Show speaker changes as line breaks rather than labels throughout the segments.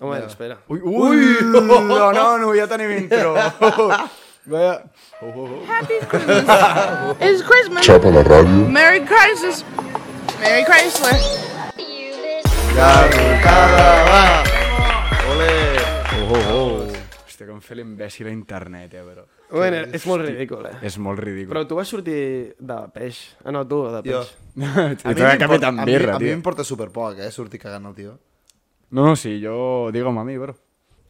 Home, espera.
Ui, ui! No, no, no, ja tenim intro. Vaja.
Happy Christmas. it's Christmas.
Chapa la ràdio.
Merry Christmas. Merry Chrysler.
Hòstia, com fer l'imbècil a internet, eh, però.
Bueno, és molt ridícul, eh?
És molt ridícul.
Però tu vas sortir de peix. Ah, no, tu, de
Jo.
peix.
I
mi
tu que
m'importa-
tan
a mi-
birra,
A mi
tio.
m'importa super poc, eh, sortir cagant el tio.
No, no, sí, jo... Digue'm a mi, bro.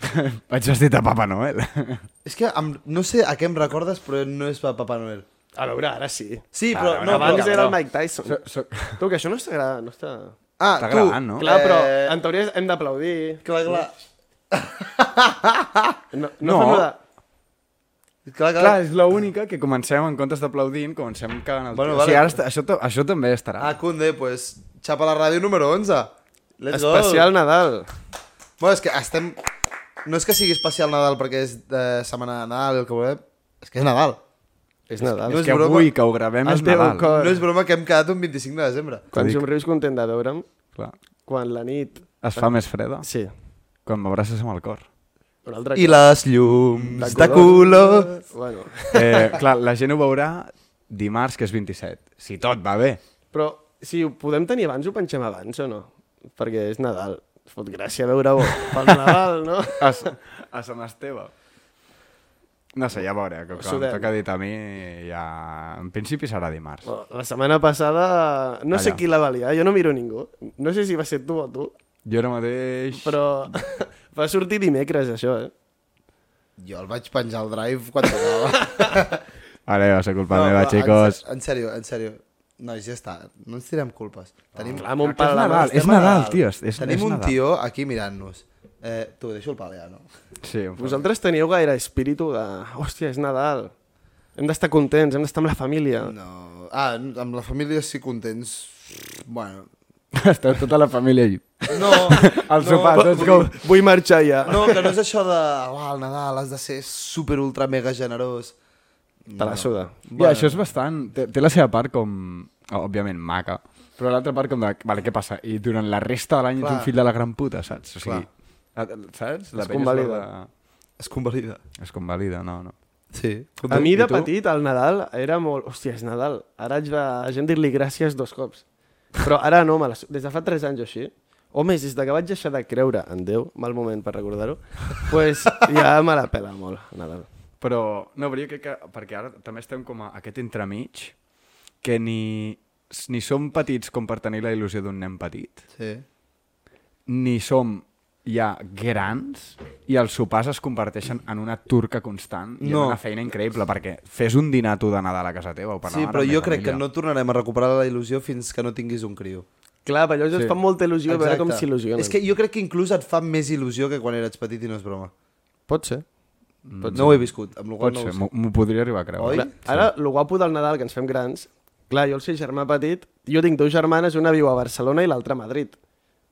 Vaig vestit de Papa Noel.
És que em, no sé a què em recordes, però no és per Papa Noel.
A veure, ara sí.
Sí, però...
No,
No,
Abans
però...
era el Mike Tyson.
Soc- soc-
Tu, que això no està... gra- No està...
Ah,
Està
tu,
gravant, no?
Clar, però
Eh,
en teoria hem d'aplaudir.
Clar, clar.
No,
No.
no. fem-ho de-
Clar, clar.
Clar, és l'única que comencem, en comptes d'aplaudint, comencem cagant el
Bueno,
tio. O sigui,
vale.
ara està, això, ta- això també estarà.
Ah, Cunde, pues, xapa la ràdio número 11. Let's go.
Especial Nadal.
Bueno, és que estem... No és que sigui especial Nadal perquè és de setmana de Nadal, el que volem. És que és Nadal.
És Nadal.
no
és
és
que
broma.
avui que ho gravem
El
és
teu
Nadal.
cor.
No és broma que hem quedat un 25 de desembre.
Quan
dic.
somrius content de veure'm,
Clar.
quan la nit...
Es fa més freda
Sí.
quan m'abraces amb el cor.
Una altra
I les llums de color...
color. Bueno,
Eh, clar, la gent ho veurà dimarts, que és 27. Si tot va bé.
però si ho podem tenir abans, ho pengem abans o no? Perquè és Nadal. Es fot gràcia veure-ho pel Nadal, no?
A, S- a Sant Esteve. No sé, ja veuré, que quan
Sudem.
em toca dit a mi, ja... En principi serà dimarts.
Bueno, La setmana passada no sé
Allà.
qui la valia, jo no miro ningú. No sé si va ser tu o tu,
Jo ara mateix...
però va sortir dimecres això, eh?
Jo el vaig penjar al drive quan tocava.
Ara va ser culpa no, meva,
va,
xicos.
En, en sèrio, en sèrio. Nois, ja està. No ens tirem culpes. Tenim,
Clar, mon
que
pare
és
la mà
Nadal,
estem
és
a
Nadal, tio, és, és,
tenim
és
un
Nadal.
tio aquí mirant-nos. Eh, tu, deixo el pal ja, no?
Sí, em fa-
Vosaltres teníeu gaire espíritu de... Hòstia, és Nadal. Hem d'estar contents, hem d'estar amb la família. No.
No. Ah, amb la família sí contents. Bueno.
Esteu tota la família allà.
No.
Al sopar, tots com...
Vull marxar ja. No.
No, que no és això de... Oh, al Nadal has de ser super ultra mega generós.
Te la suda.
Ja, això és bastant... Té, té la seva part com... Òbviament, maca. Però l'altra part com de... Vale, què passa? I durant la resta de l'any ets un
Clar.
fill de la gran puta, saps? O sigui,
Clar.
la, saps? La
Es
penya
convalida.
sort
Es convalida.
de- Es convalida, no, no.
Sí.
A mi de
tu?
petit, al Nadal, era molt... Hòstia, és Nadal. Ara haig de la gent dir-li gràcies dos cops. Però ara no, me la... su- des de fa 3 anys o així, o més, des de que vaig deixar de creure en Déu, mal moment per recordar-ho, pues ja me la pela molt, Nadal.
Però, no, però jo crec que... Perquè ara també estem com a aquest entremig que ni, ni som petits com per tenir la il·lusió d'un nen petit,
Sí.
ni som ja grans i els sopars es converteixen en una turca constant i
No.
en una feina increïble perquè fes un dinar tu de Nadal a casa teva o per
Sí,
Nadal
però
amb
jo
la
crec que
família.
no tornarem a recuperar la il·lusió fins que no tinguis un criu.
Clar, per allò sí.
Sí.
et fa molta il·lusió Exacte. veure com s'il·lusionen.
És que jo crec que inclús et fa més il·lusió que quan eres petit i no és broma.
Pot ser.
No ho he viscut, amb la
Pot
qual cosa
Mm. ser,
no ho
m'ho- m'ho podria arribar a creure.
Oi?
Clar, ara, el guapo del Nadal, que ens fem grans, clar, jo el seu germà petit, jo tinc dues germanes, una viu a Barcelona i l'altra a Madrid.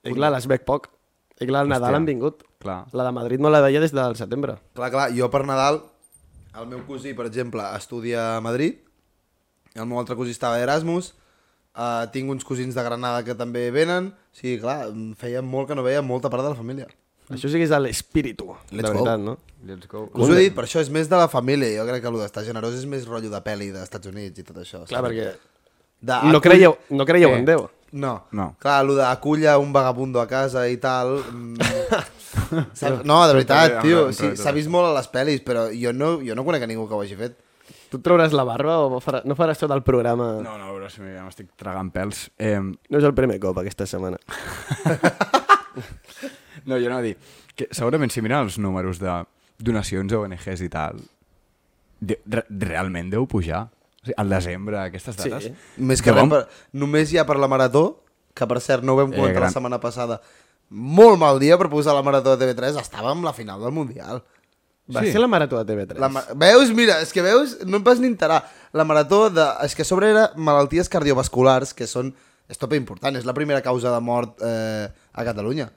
I clar, les veig poc. I clar, el Nadal
Hòstia.
han vingut.
Clar.
La de Madrid no la veia des del setembre.
Clar, clar, jo per Nadal, el meu cosí, per exemple, estudia a Madrid, el meu altre cosí estava a Erasmus, uh, tinc uns cosins de Granada que també venen, o sigui, clar, em feia molt que no veia molta part de la família.
Mm. Això sí que és l'espíritu, de
Let's go.
veritat, no?
Let's go.
Us ho he dit, per això és més de la família, jo crec que el d'estar generós és més rotllo de pel·li d'Estats Units i tot això.
Clar,
saps?
perquè
De,
no
acull-
creieu, no creieu
Eh.
en Déu.
No, no.
No.
clar, el d'aculla un vagabundo a casa i tal... mm, saps? no, de veritat, tio, sí, s'ha vist molt a les pel·lis, però jo no, jo no conec a ningú que ho hagi fet.
Tu et trauràs la barba o farà, no faràs tot el programa? No.
No, no, però si ja m'estic tragant pèls. Eh,
no és el primer cop aquesta setmana.
no, jo no dir... Que segurament si miren els números de donacions a ONGs i tal, de, re, realment deu pujar. O sigui, al desembre, aquestes
Sí.
dates...
Més que res,
Deuen-
per, només hi ha per la marató, que per cert no ho vam
Eh,
comentar eh,
gran.
la setmana passada. Molt mal dia per posar la marató de TV3, estàvem a la final del Mundial.
Va
Sí.
sí. ser la marató de TV3.
La, ma- veus, mira, és que veus, no em vas ni enterar. La marató, de, és que a sobre era malalties cardiovasculars, que són, és tope important, és la primera causa de mort eh, a Catalunya.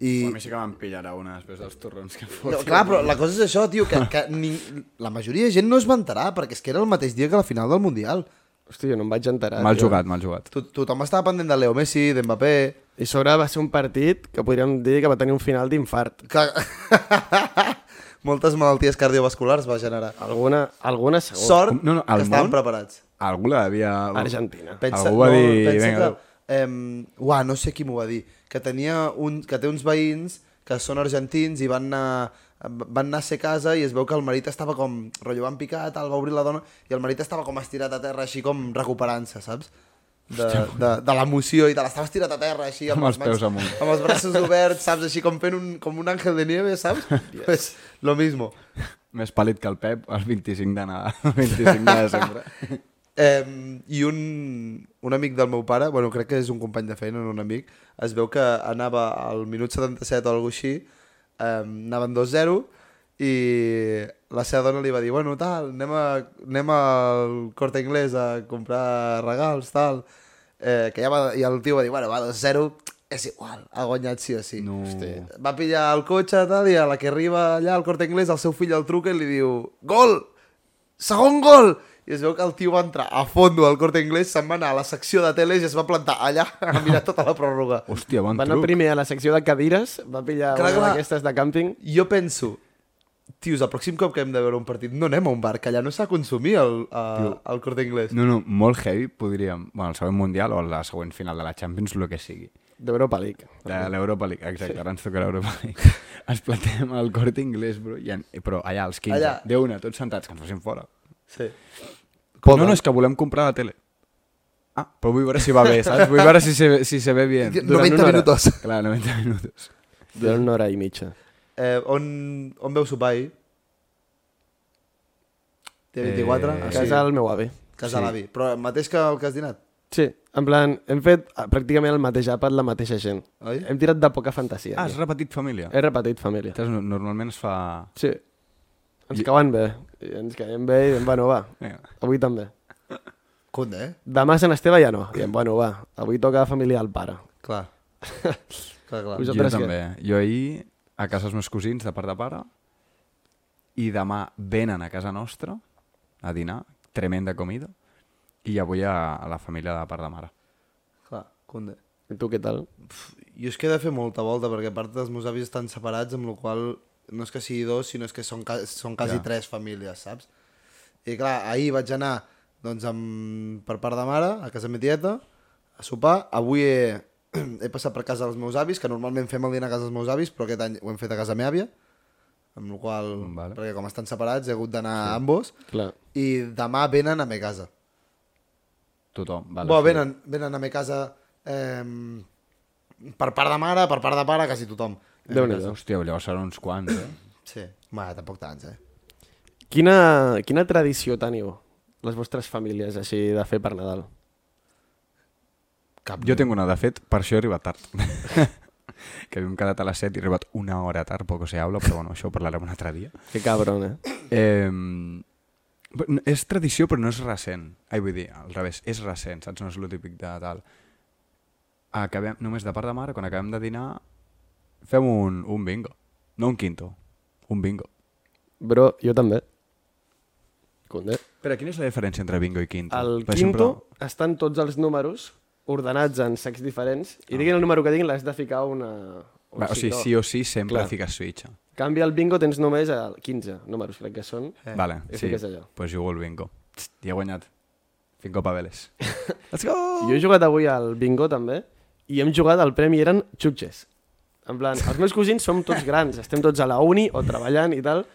I,
A mi sí que me'n pillarà una després dels torrons que fot.
no, clar, però la cosa és això, tio, que, que ni, la majoria de gent no es va enterar, perquè és que era el mateix dia que la final del Mundial.
Hòstia, jo no em vaig enterar.
Mal
tio.
jugat, mal jugat.
To tothom estava pendent de Leo Messi, d'Mbappé...
I a sobre va ser un partit que podríem dir que va tenir un final d'infart.
Que... Moltes malalties cardiovasculars va generar.
Alguna, alguna segur.
Sort
Oh. No, no, al
que estaven
món?
preparats.
Algú l'havia...
Argentina.
Pensa,
Algú va
no,
dir,
pensa
"Vinga,
que, em, uah, no sé qui m'ho va dir, que, tenia un, que té uns veïns que són argentins i van anar, van anar a ser a casa i es veu que el marit estava com rotllo van picar, tal, va obrir la dona i el marit estava com estirat a terra així com recuperant-se, saps? De, de, de l'emoció i tal, estava estirat a terra així
Amb els
les mans-
peus amunt.
amb els braços oberts, saps? Així com fent un, com un àngel de nieve, saps? Pues, lo mismo.
Més pàl·lid que el Pep el 25 de, na... el 25 de desembre.
Eh, I un, un amic del meu pare, bueno, crec que és un company de feina, no un amic, es veu que anava al minut 77 o alguna així, eh, anaven 2-0, i la seva dona li va dir, bueno, tal, anem, a, anem al Corte Inglés a comprar regals, tal, eh, que ja va, i el tio va dir, bueno, va 2-0, és igual, ha guanyat sí o sí.
No.
Hosti. Va pillar el cotxe, tal, i a la que arriba allà al Corte Inglés, el seu fill el truca i li diu, gol! segon gol! I es veu que el tio va entrar a fondo al corte anglès, se'n va anar a la secció de teles i es va plantar allà a mirar tota la pròrroga.
Hòstia, bon
Va anar
truc.
primer a la secció de cadires, va pillar
Clar,
clar, una
clar.
d'aquestes de càmping.
Jo penso, tios, el pròxim cop que hem de veure un partit no anem a un bar, que allà no s'ha de consumir el, a, el corte anglès.
No, no, molt heavy podríem... Bueno, el següent Mundial o la següent final de la Champions, el que sigui.
d'Europa League.
De l'Europa League, exacte, sí. ara ens toca l'Europa League. Ens plantem al Corte Inglés, bro, i en... però allà, als 15, allà.
Allà.
de una, tots sentats, que ens facin fora.
Sí.
Poden. No, no, és que volem comprar la tele. Ah, però vull veure si va bé, saps? Vull veure si se, si se ve bien.
Durant
Durant
90
una hora.
minutos.
Clar, 90 minuts.
Durant una hora i mitja.
Eh, on, on veu sopar ahir? T24?
Eh,
A
Eh, casa,
casa del meu avi.
casa sí. l'avi. Però el mateix que el que has dinat?
Sí, en plan, hem fet ah, pràcticament el mateix àpat, la mateixa gent.
Oi?
Hem tirat de poca fantasia.
Ah,
Ah,
has repetit família.
He repetit família.
Saps, no- Normalment es fa...
Sí. Ens cauen bé. I ens caiem bé i diem, bueno, va,
Vinga.
avui també.
Conde, eh?
Demà Sant Esteve ja no. Diem, bueno, va, avui toca família al pare.
Clar. clar, clar.
Us-
Jo
Vosaltres
també. Jo ahir, a casa dels meus cosins, de part de pare, i demà venen a casa nostra a dinar, tremenda comida, i avui a, a la família de part de mare.
Clar, conde.
I tu què tal?
Jo és que he de fer molta volta, perquè a part dels meus avis estan separats, amb la qual cosa no és que sigui dos, sinó és que són, ca són quasi ja. tres famílies, saps? I clar, ahir vaig anar doncs, amb... per part de mare, a casa de ma tieta, a sopar. Avui he, he passat per casa dels meus avis, que normalment fem el dinar a casa dels meus avis, però aquest any ho hem fet a casa meva àvia, amb la qual cosa,
Vale.
perquè com estan separats, he hagut d'anar sí. a ambos.
Clar.
I demà venen a ma casa.
Tothom. Vale,
Vale, Bo,
sí.
venen, venen a mi casa eh, per part de mare, per part de pare, quasi tothom.
déu nhi
Hòstia, llavors seran uns quants, eh?
Sí. Ma, tampoc tants, eh?
Quina, quina tradició teniu, les vostres famílies, així, de fer per Nadal?
Cap.
Jo tinc una, de fet, per això he arribat tard. que havíem quedat a les 7 i he arribat una hora tard, poco se habla, però bueno, això ho parlarem un altre dia.
Que cabron, eh?
Eh, és tradició, però no és recent. Ai, vull dir, al revés, és recent, saps? No és el típic de tal. Acabem, només de part de mare, quan acabem de dinar, fem un, un bingo. No un quinto, un bingo.
Bro, jo també. Conde.
Però quina és la diferència entre bingo i quinto?
Al
Per exemple,
quinto estan tots els números ordenats en sacs diferents i diguin el número que diguin l'has de ficar una... un
Ah. va, o sigui,
sitó.
sí o sí sempre
Clar.
Clar. fiques switch.
Canvi el bingo, tens només el 15 números, crec que són.
Eh, vale,
i
sí.
fiques allò.
Pues jugo al bingo. Txt, I he guanyat. Cinco papeles. Let's go!
Jo he jugat avui al bingo, també, i hem jugat, el premi eren xutxes. En plan, els meus cosins som tots grans, estem tots a la uni o treballant i tal,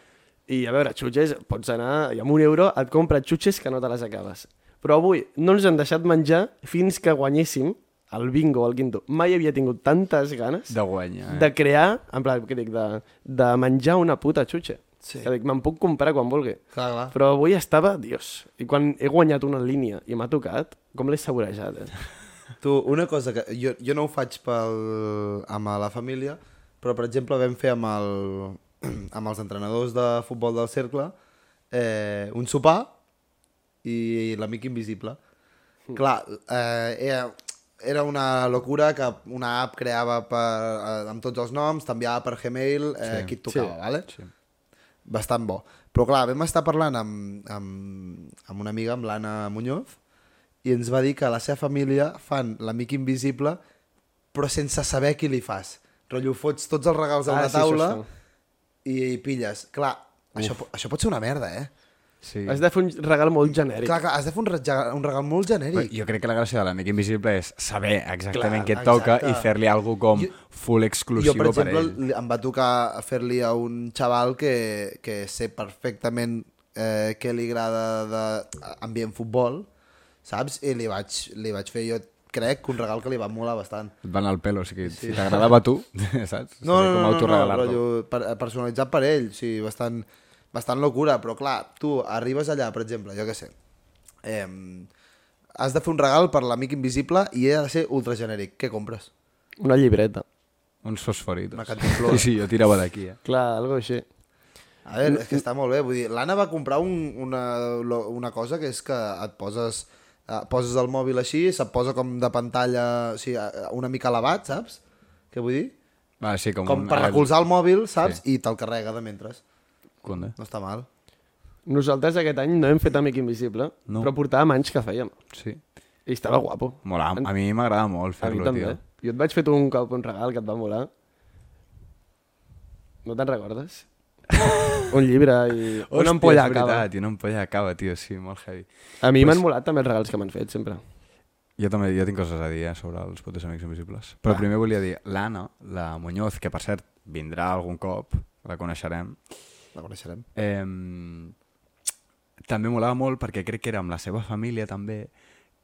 i a veure, xutxes, pots anar, i amb un euro et compra xutxes que no te les acabes. Però avui no ens han deixat menjar fins que guanyéssim el bingo, el quinto. Mai havia tingut tantes ganes
De guanya, eh?
de crear, en plan, què dic, de, de menjar una puta xutxa.
Sí.
Que dic, me'n puc comprar quan vulgui.
Clar, clar.
Però avui estava, dios, i quan he guanyat una línia i m'ha tocat, com l'he saborejat, eh?
Tu, una cosa que... Jo, jo no ho faig pel, amb la família, però, per exemple, vam fer amb, el, amb els entrenadors de futbol del cercle eh, un sopar i l'amic invisible. Clar, eh, era, era una locura que una app creava per, eh, amb tots els noms, t'enviava per Gmail eh, sí. qui et tocava, sí. vale? Sí. bastant bo. Però clar, vam estar parlant amb, amb, amb una amiga, amb l'Anna Muñoz, i ens va dir que la seva família fan l'amic invisible però sense saber qui li fas. Rotllo, fots tots els regals a
Ah,
una
sí,
sí,
això
taula
està.
i, i pilles. Clar, això, po- això pot ser una merda, eh?
Sí.
Has de fer un regal molt genèric.
Clar, clar, has de fer un, rega- un regal molt
Però
genèric.
jo crec que la gràcia de l'amic invisible és saber exactament
Clar,
què et toca
exacte.
i fer-li alguna com
Jo-
full
jo,
exclusiu
per exemple,
per ell.
li- em va tocar fer-li a un xaval que, que sé perfectament eh, què li agrada de ambient futbol, saps? I li vaig, li vaig fer, jo crec, que un regal que li va molar bastant.
Et van al pelo, o sigui, si t'agradava a tu, saps? Seria
No, no, no, no, no,
autorregalar-lo.
rotllo, per, personalitzat per ell, sí, bastant, bastant locura, però clar, tu arribes allà, per exemple, jo què sé, eh, has de fer un regal per l'amic invisible i ha de ser ultragenèric. Què compres?
Una llibreta.
Uns fosforitos.
Una cantimplora.
Sí, sí, jo tirava d'aquí, eh?
Clar, algo així.
A veure, és que està molt bé, vull dir, l'Anna va comprar un, una, lo- una cosa que és que et poses, eh, poses el mòbil així, se't posa com de pantalla, o sigui, eh, una mica elevat, saps? Què vull dir?
Va, sí, com,
Com
un-
per
ara-
recolzar el mòbil, saps? I te'l carrega de mentre.
Conde.
No està mal.
Nosaltres aquest any no hem fet Amic Invisible,
No.
però portàvem anys que fèiem.
Sí.
I estava guapo.
Mola, a mi m'agrada
A
molt
mi
fer-lo,
també.
tio.
Jo et vaig fer tu un cop un regal que et va molar. No te'n recordes? un llibre i una ampolla
és
de cava.
veritat, i una ampolla acaba, tio, sí, molt heavy.
A mi m'han molat també els regals que m'han fet, sempre.
Jo també jo tinc coses a dir eh, sobre els puters amics invisibles. Però primer volia dir, l'Anna, la Muñoz, que per cert vindrà algun cop, la coneixerem,
La coneixerem.
eh, també molava molt perquè crec que era amb la seva família també,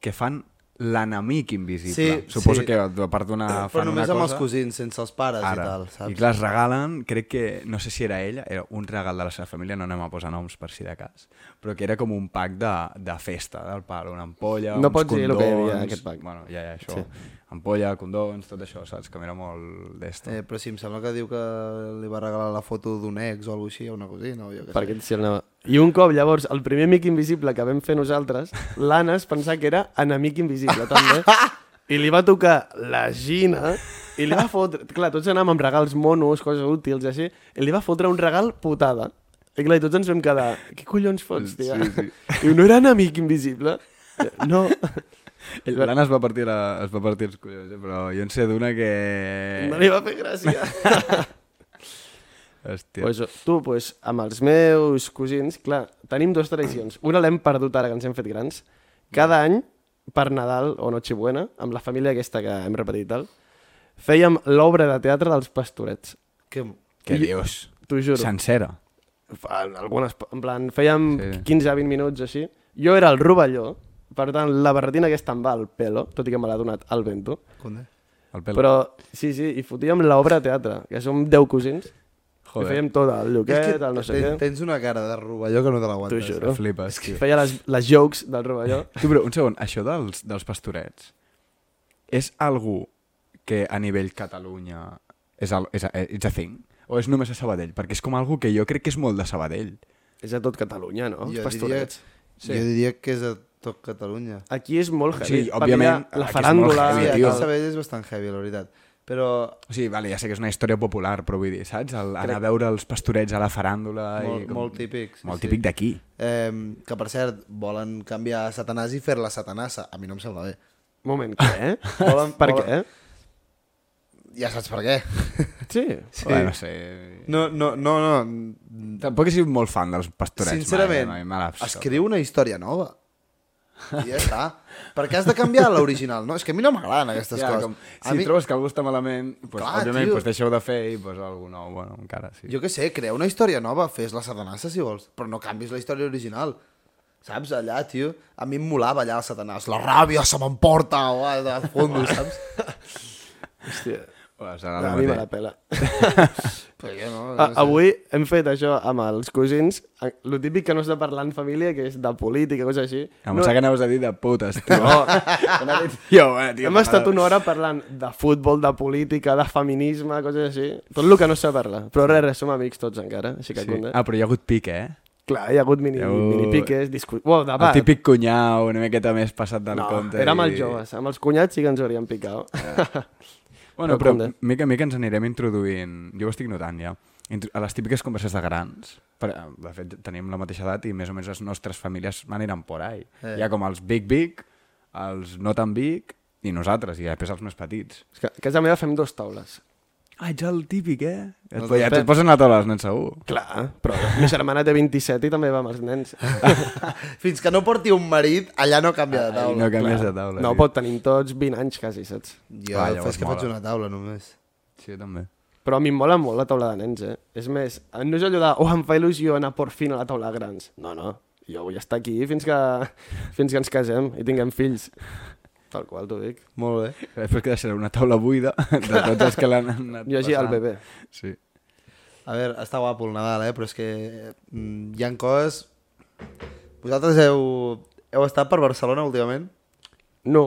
que fan l'enemic invisible.
Sí,
Suposo
sí.
que a part d'una
Però
Ah, fan una
només
cosa...
amb els cosins, sense els pares
Ara.
i tal, saps?
I clar, es regalen, crec que, no sé si era ella, era un regal de la seva família, no anem a posar noms per si de cas, però que era com un pack de, de festa del pal, una ampolla,
No
uns
pots dir
condons...
el que hi havia en aquest pack.
Bueno, ja, ja, això.
Sí.
Sí. Ampolla, condons, tot això, saps? Que m'era molt d'esto.
Eh,
Eh,
però sí, em sembla que diu que li va regalar la foto d'un ex o alguna cosa així, o una cosina, o jo què sé.
Perquè si anava... I un cop, llavors, el primer amic invisible que vam fer nosaltres, l'Anna es pensava que era enemic invisible, també. I li va tocar la Gina i li va fotre... Clar, tots anàvem amb regals monos, coses útils i així, i li va fotre un regal putada. I clar, i tots ens vam quedar... Què collons fots, tia?
Sí, sí.
Diu, no era enemic invisible? No.
L'Anna es va partir, la, es va partir els collons, eh? però jo en sé d'una que...
No li va fer gràcia.
Eh. Hòstia.
Pues, tu, pues, amb els meus cosins, clar, tenim dues tradicions. Una l'hem perdut ara que ens hem fet grans. Cada any, per Nadal o Nochebuena, amb la família aquesta que hem repetit i tal, fèiem l'obra de teatre dels pastorets.
Que...
Què dius?
T'ho juro.
Sencera.
Fa Algunes, en plan, fèiem
Sí.
sí. 15-20 minuts així. Jo era el rovelló, per tant, la barretina aquesta em va al pelo, tot i que me l'ha donat al vento.
Conde.
El pèl.
Però, sí, sí, i fotíem l'obra de teatre, que som 10 cosins. Joder. I
Joder,
fèiem tot, el
És
Lluquet,
que
el no sé
ten-
què.
Tens una cara de rovelló que no te
T'ho
l'aguantes. eh?
juro.
flipes, tio.
Feia les, les jokes del rovelló.
Tu, però, un segon, això dels, dels pastorets és algú que a nivell Catalunya és, al, és, a, és a thing? O és només a Sabadell? Perquè és com algú que jo crec que és molt de Sabadell.
És a tot Catalunya, no? Els
Jo
pastorets.
Diria, sí. Jo diria que és a tot Catalunya.
Aquí és molt heavy.
Sí,
Per
òbviament,
mirar La
aquí és
faràndula...
molt heavy,
Sí,
i
aquí
tio.
a
tal.
Sabadell és bastant heavy, la veritat. Però
O sigui, vale, ja sé que és una història popular, però vull dir, saps? El, anar
Crec-
a veure els pastorets a la faràndula...
molt,
i com...
molt típic. Sí,
Molt
sí.
típic d'aquí.
Eh, que, per cert, volen canviar a Satanàs i fer-la Satanassa. A mi no em sembla bé.
Moment, què?
Volen-
per
volen-
què?
Ja saps per què.
Sí.
Sí. Bueno, no sé...
No, no, no, no.
Tampoc he sigut molt fan dels pastorets.
Sincerament,
mai, mai, mai
escriu una història nova. I ja està. Per què has de canviar l'original? No, és que a mi no m'agraden aquestes
Ja,
coses.
com,
a
si mi...
mi,
trobes que algú està malament, pues,
Clar,
òbviament
tio.
pues, deixeu de fer i pues, algú nou, bueno, encara sí.
Jo què sé, crea una història nova, fes la satanassa si vols, però no canvis la història original. Saps, allà, tio, a mi em molava allà el satanàs. La ràbia se m'emporta, o a de fondo, saps?
Hòstia.
Bueno, serà
A
el
mi me
mateix.
la pela.
Però jo no,
A,
no sé.
avui hem fet això amb els cosins. Lo típic que no has de parlar en família, que és de política, coses així.
Em
No,
pensava que anaves a dir de putes, tio.
No.
jo, eh, tio.
Hem estat una hora parlant de futbol, de política, de feminisme, coses així. Tot el que no s'ha parlar. Però res, res, som amics tots encara. Així que
Sí.
sí.
Ah, però hi ha hagut pic, eh?
Clar, hi ha hagut mini,
Hi ha
Déu...
hagut-
mini piques, discu... Uau,
El
debat.
típic cunyau, una miqueta més passat del
Ah, No,
compte.
érem
i-
els joves. Amb els cunyats sí que ens hauríem picat.
Bueno,
Però
però
compte.
mica en mica ens anirem introduint, jo ho estic notant ja, intro- a les típiques converses de grans. Per, de fet, tenim la mateixa edat i més o menys les nostres famílies aniran por ahí. Eh. Hi ha com els big big, els no tan big I nosaltres, i després els més petits.
És que a casa meva fem dues taules.
Ah, ets el típic, eh? Et,
Nosaltres
ja
fem-
et posen a taula, els nens segur.
Clar, però la meva germana té 27 i també va amb els nens.
Fins que no porti un marit, allà no canvia
I
de taula.
no canvies de taula.
No,
tio.
pot tenim tots 20 anys, quasi, saps?
Jo
Va,
ah,
llavors
fes que
mola.
faig una taula només.
Sí, també.
Però a mi em mola molt la taula de nens, eh? És més, no és allò de, oh, em fa il·lusió anar por fin a la taula de grans. No, no, jo vull estar aquí fins que, fins que ens casem i tinguem fills. Tal qual t'ho dic.
Molt bé.
Després que deixaré una taula buida de tots els que l'han anat
Jo així al
passant.
bebè.
Sí.
A veure, està guapo el Nadal, eh? Però és que mm, hi han coses... Vosaltres heu, heu estat per Barcelona últimament?
No.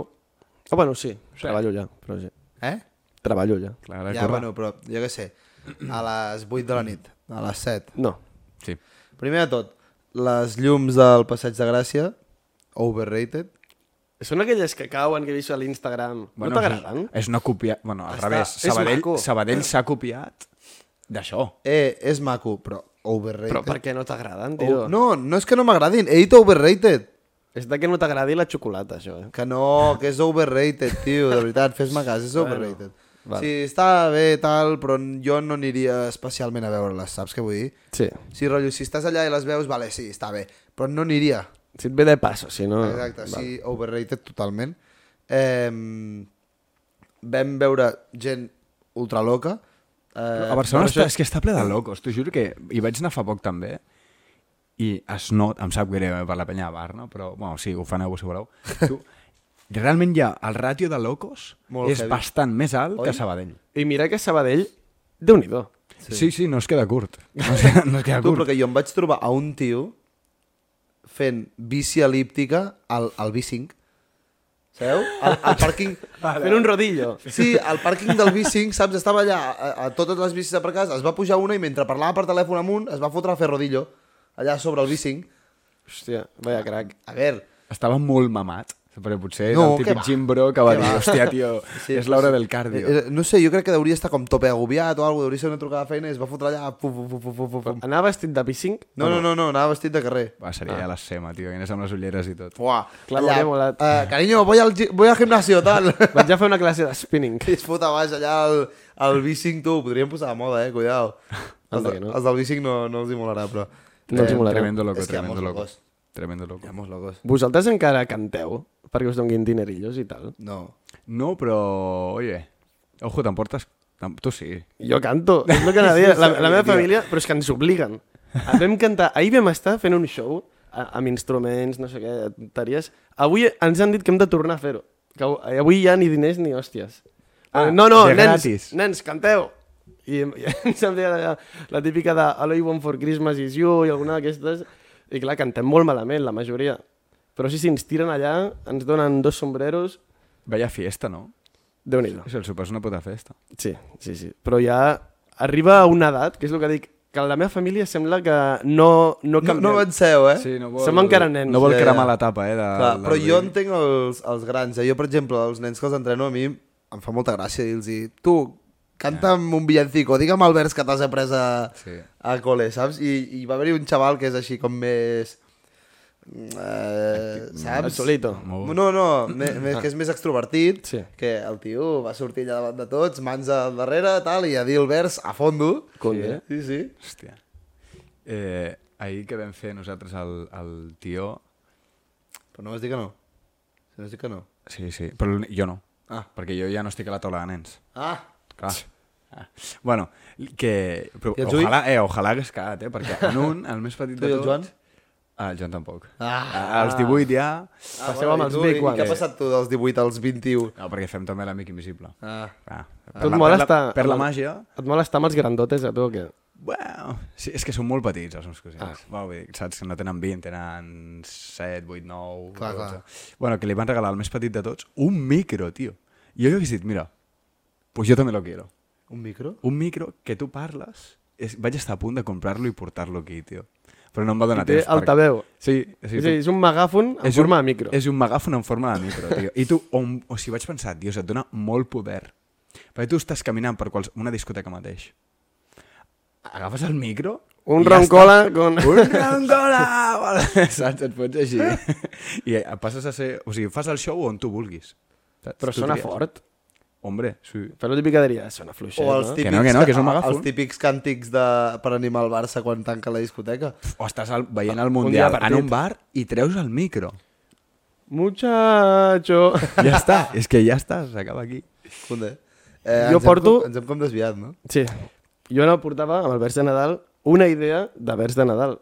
Oh, bueno, sí, treballo allà, però sí.
Eh?
Treballo allà.
Clar, ara
ja,
corre.
bueno, però jo què sé. A les 8 de la nit, a les 7.
No.
Sí.
Primer de tot, les llums del Passeig de Gràcia, overrated.
Són aquelles que cauen que he vist a l'Instagram. no t'agraden?
eh,
És, és una copia... Bueno, al
Està-
revés.
és
Sabadell,
maco.
Sabadell s'ha copiat d'això.
Eh, és maco, però overrated.
Però per què no t'agraden, tio?
O- No, no és que no m'agradin, he dit overrated.
És de que no t'agradi la xocolata, això, eh?
Que no, que és overrated, tio, de veritat, fes-me cas, és overrated. Bueno, sí, està bé, tal, però jo no aniria especialment a veure-les, saps què vull dir?
Sí.
Sí, rotllo, si estàs allà i les veus, vale, sí, està bé, però no aniria.
Si et ve de passo, si no...
Ah,
Exacte, sí, overrated totalment. Eh, vam veure gent ultraloca. Eh,
A Barcelona
però
està, és que està ple de locos, t'ho juro que hi vaig anar fa poc també i es not, em sap greu eh, per la penya de bar, no? però bueno, sí, ho faneu si voleu. Tu, realment ja el ràtio de locos
Molt
és
heavy.
bastant més alt
Oi?
que Sabadell.
I mira que Sabadell, déu nhi
Sí. sí, sí, no es queda curt. No es queda, no es queda
Tu, però
curt.
que jo em vaig trobar a un tio fent bici elíptica al, al B5. Sabeu? Al, al pàrquing...
Fent un rodillo.
Sí, al pàrquing del B5, saps? Estava allà a, a totes les bicis aparcades, es va pujar una i mentre parlava per telèfon amunt es va fotre a fer rodillo allà sobre el B5.
Hòstia, vaya crac.
A veure,
Estava molt mamat, però potser no,
No,
el
què va?
típic Jim Bro que va
Què
dir,
va?
hòstia, tio, sí, és l'hora del cardio.
eh, eh, no sé, jo crec que deuria estar com tope agobiat o alguna cosa, deuria ser una trucada a feina i es va fotre allà... Pum, pum, pum, pum, pum, pum, pum.
Anava vestit de P5?
No, no, no, no, anava vestit de carrer.
Va, seria ah. ja la sema, tio, vines amb les ulleres i tot.
Fuà,
Clar, m'hauria molat.
Eh, carinyo, voy al, gi- voy al gimnasio, tal.
Vaig a fer una classe de spinning.
I es fot a baix allà el, el B5, tu, ho podríem posar de moda, eh? Cuidao. Els,
Anda
de,
que no.
els del B5 no, no els hi molarà, però...
No els hi molarà.
Tremendo loco,
és que hi ha
tremendo
molts
loco.
locos.
Tremendo loco.
Vamos, locos.
Vosaltres encara canteu perquè us donguin dinerillos i tal?
No.
No, però, oye, ojo, t'emportes... Tam- Tu sí.
Jo canto, és el que anava a dir. La, la meva família, però és que ens obliguen. Ah, Vam cantar, ahir vam estar fent un show a- amb instruments, no sé què, tonteries. Avui ens han dit que hem de tornar a fer-ho. Que av- avui ja ni diners ni hòsties.
Ah,
Ah, no, no,
de
nens,
gratis.
nens, canteu! I, i ens han dit la, la típica de All I Want For Christmas Is You i alguna d'aquestes. I clar, cantem molt malament, la majoria. Però sí, sí, ens tiren allà, ens donen dos sombreros,
Vaya fiesta, no?
déu nhi
O sigui, el sopar és una puta festa.
Sí, sí, sí. Però ja arriba a una edat, que és el que dic, que la meva família sembla que no, no
No,
canviem.
no avanceu, eh?
Sí, no
vol- Som encara nens,
No vol
ja,
cremar
ja.
la tapa, eh? De,
Clar,
de-
però jo entenc els, els grans, eh? Jo, per exemple, els nens que els entreno, a mi em fa molta gràcia dir-los tu, canta'm un villancico, digue'm el vers que t'has après a,
Sí.
a col·le, saps? I, i va haver-hi un xaval que és així com més... Eh,
El
saps?
solito.
Molt.
No, no, me, me, que és més extrovertit,
Sí.
que el tio va sortir allà davant de tots, mans al darrere, tal, i a dir el vers a fondo.
eh?
Conde.
Sí, sí.
Hòstia. Eh, ahir que vam fer nosaltres el, el tió...
Però no vas dir que no. Si no vas dir que no.
Sí, sí, però l'únic- jo no.
Ah.
Perquè jo ja no estic a la taula de nens.
Ah,
Clar. Ah. Bueno, que... Però,
I el Juli?
ojalà, eh, ojalà hagués quedat, eh? Perquè en un, el més petit
Tu
de
i el
tots...
Joan?
Ah, el Joan tampoc.
Ah.
Ah, als 18 ja...
ah
Passeu amb
i
els
tu,
Big
i
Ones.
Què ha passat tu dels 18 als 21?
No, perquè fem també l'amic invisible.
Ah.
Ah, per
Tu et
la,
mola
per la,
estar...
per la
amb el-
màgia...
Et mola estar amb els grandotes, a tu, o què?
Bueno, sí, és que són molt petits els meus cosins.
Ah.
Ah. Bueno, vull dir, saps que no tenen 20, tenen 7, 8, 9...
Clar, clar.
Bueno, que li van regalar al més petit de tots un micro, tio. I jo li he dit, mira, pues jo també lo quiero.
Un micro?
Un micro que tu parles... És, vaig estar a punt de comprar-lo i portar-lo aquí, tio. Però no em va donar
I té
temps. perquè-
altaveu.
Sí,
Sí,
sí,
és, a dir, és un megàfon en
és
és forma de micro.
És un megàfon en forma de micro, tio. I tu, on, o si vaig pensar, dios, et dona molt poder. Perquè tu estàs caminant per quals, una discoteca mateix. Agafes el micro...
Un
i
roncola
estàs-
con-
Un roncola! Saps? Et fots així. I passes a ser... O sigui, fas el show on tu vulguis. Saps?
Però
Tu
sona
tries.
fort.
Hombre, sí.
Però lo típic que diria, sona fluixet,
O els
no?
típics,
no, que no, que és un
ca-
megàfon.
Els típics càntics de, per animar el Barça quan tanca la discoteca.
O estàs al, veient el
dia
Mundial
partit.
en un bar i treus el micro.
Muchacho.
Ja està, és que ja està, s'acaba aquí.
Joder. Eh,
Jo
ens hem
porto-
Com, ens hem com desviat, no?
Sí. Jo no portava amb el vers de Nadal una idea de vers de Nadal,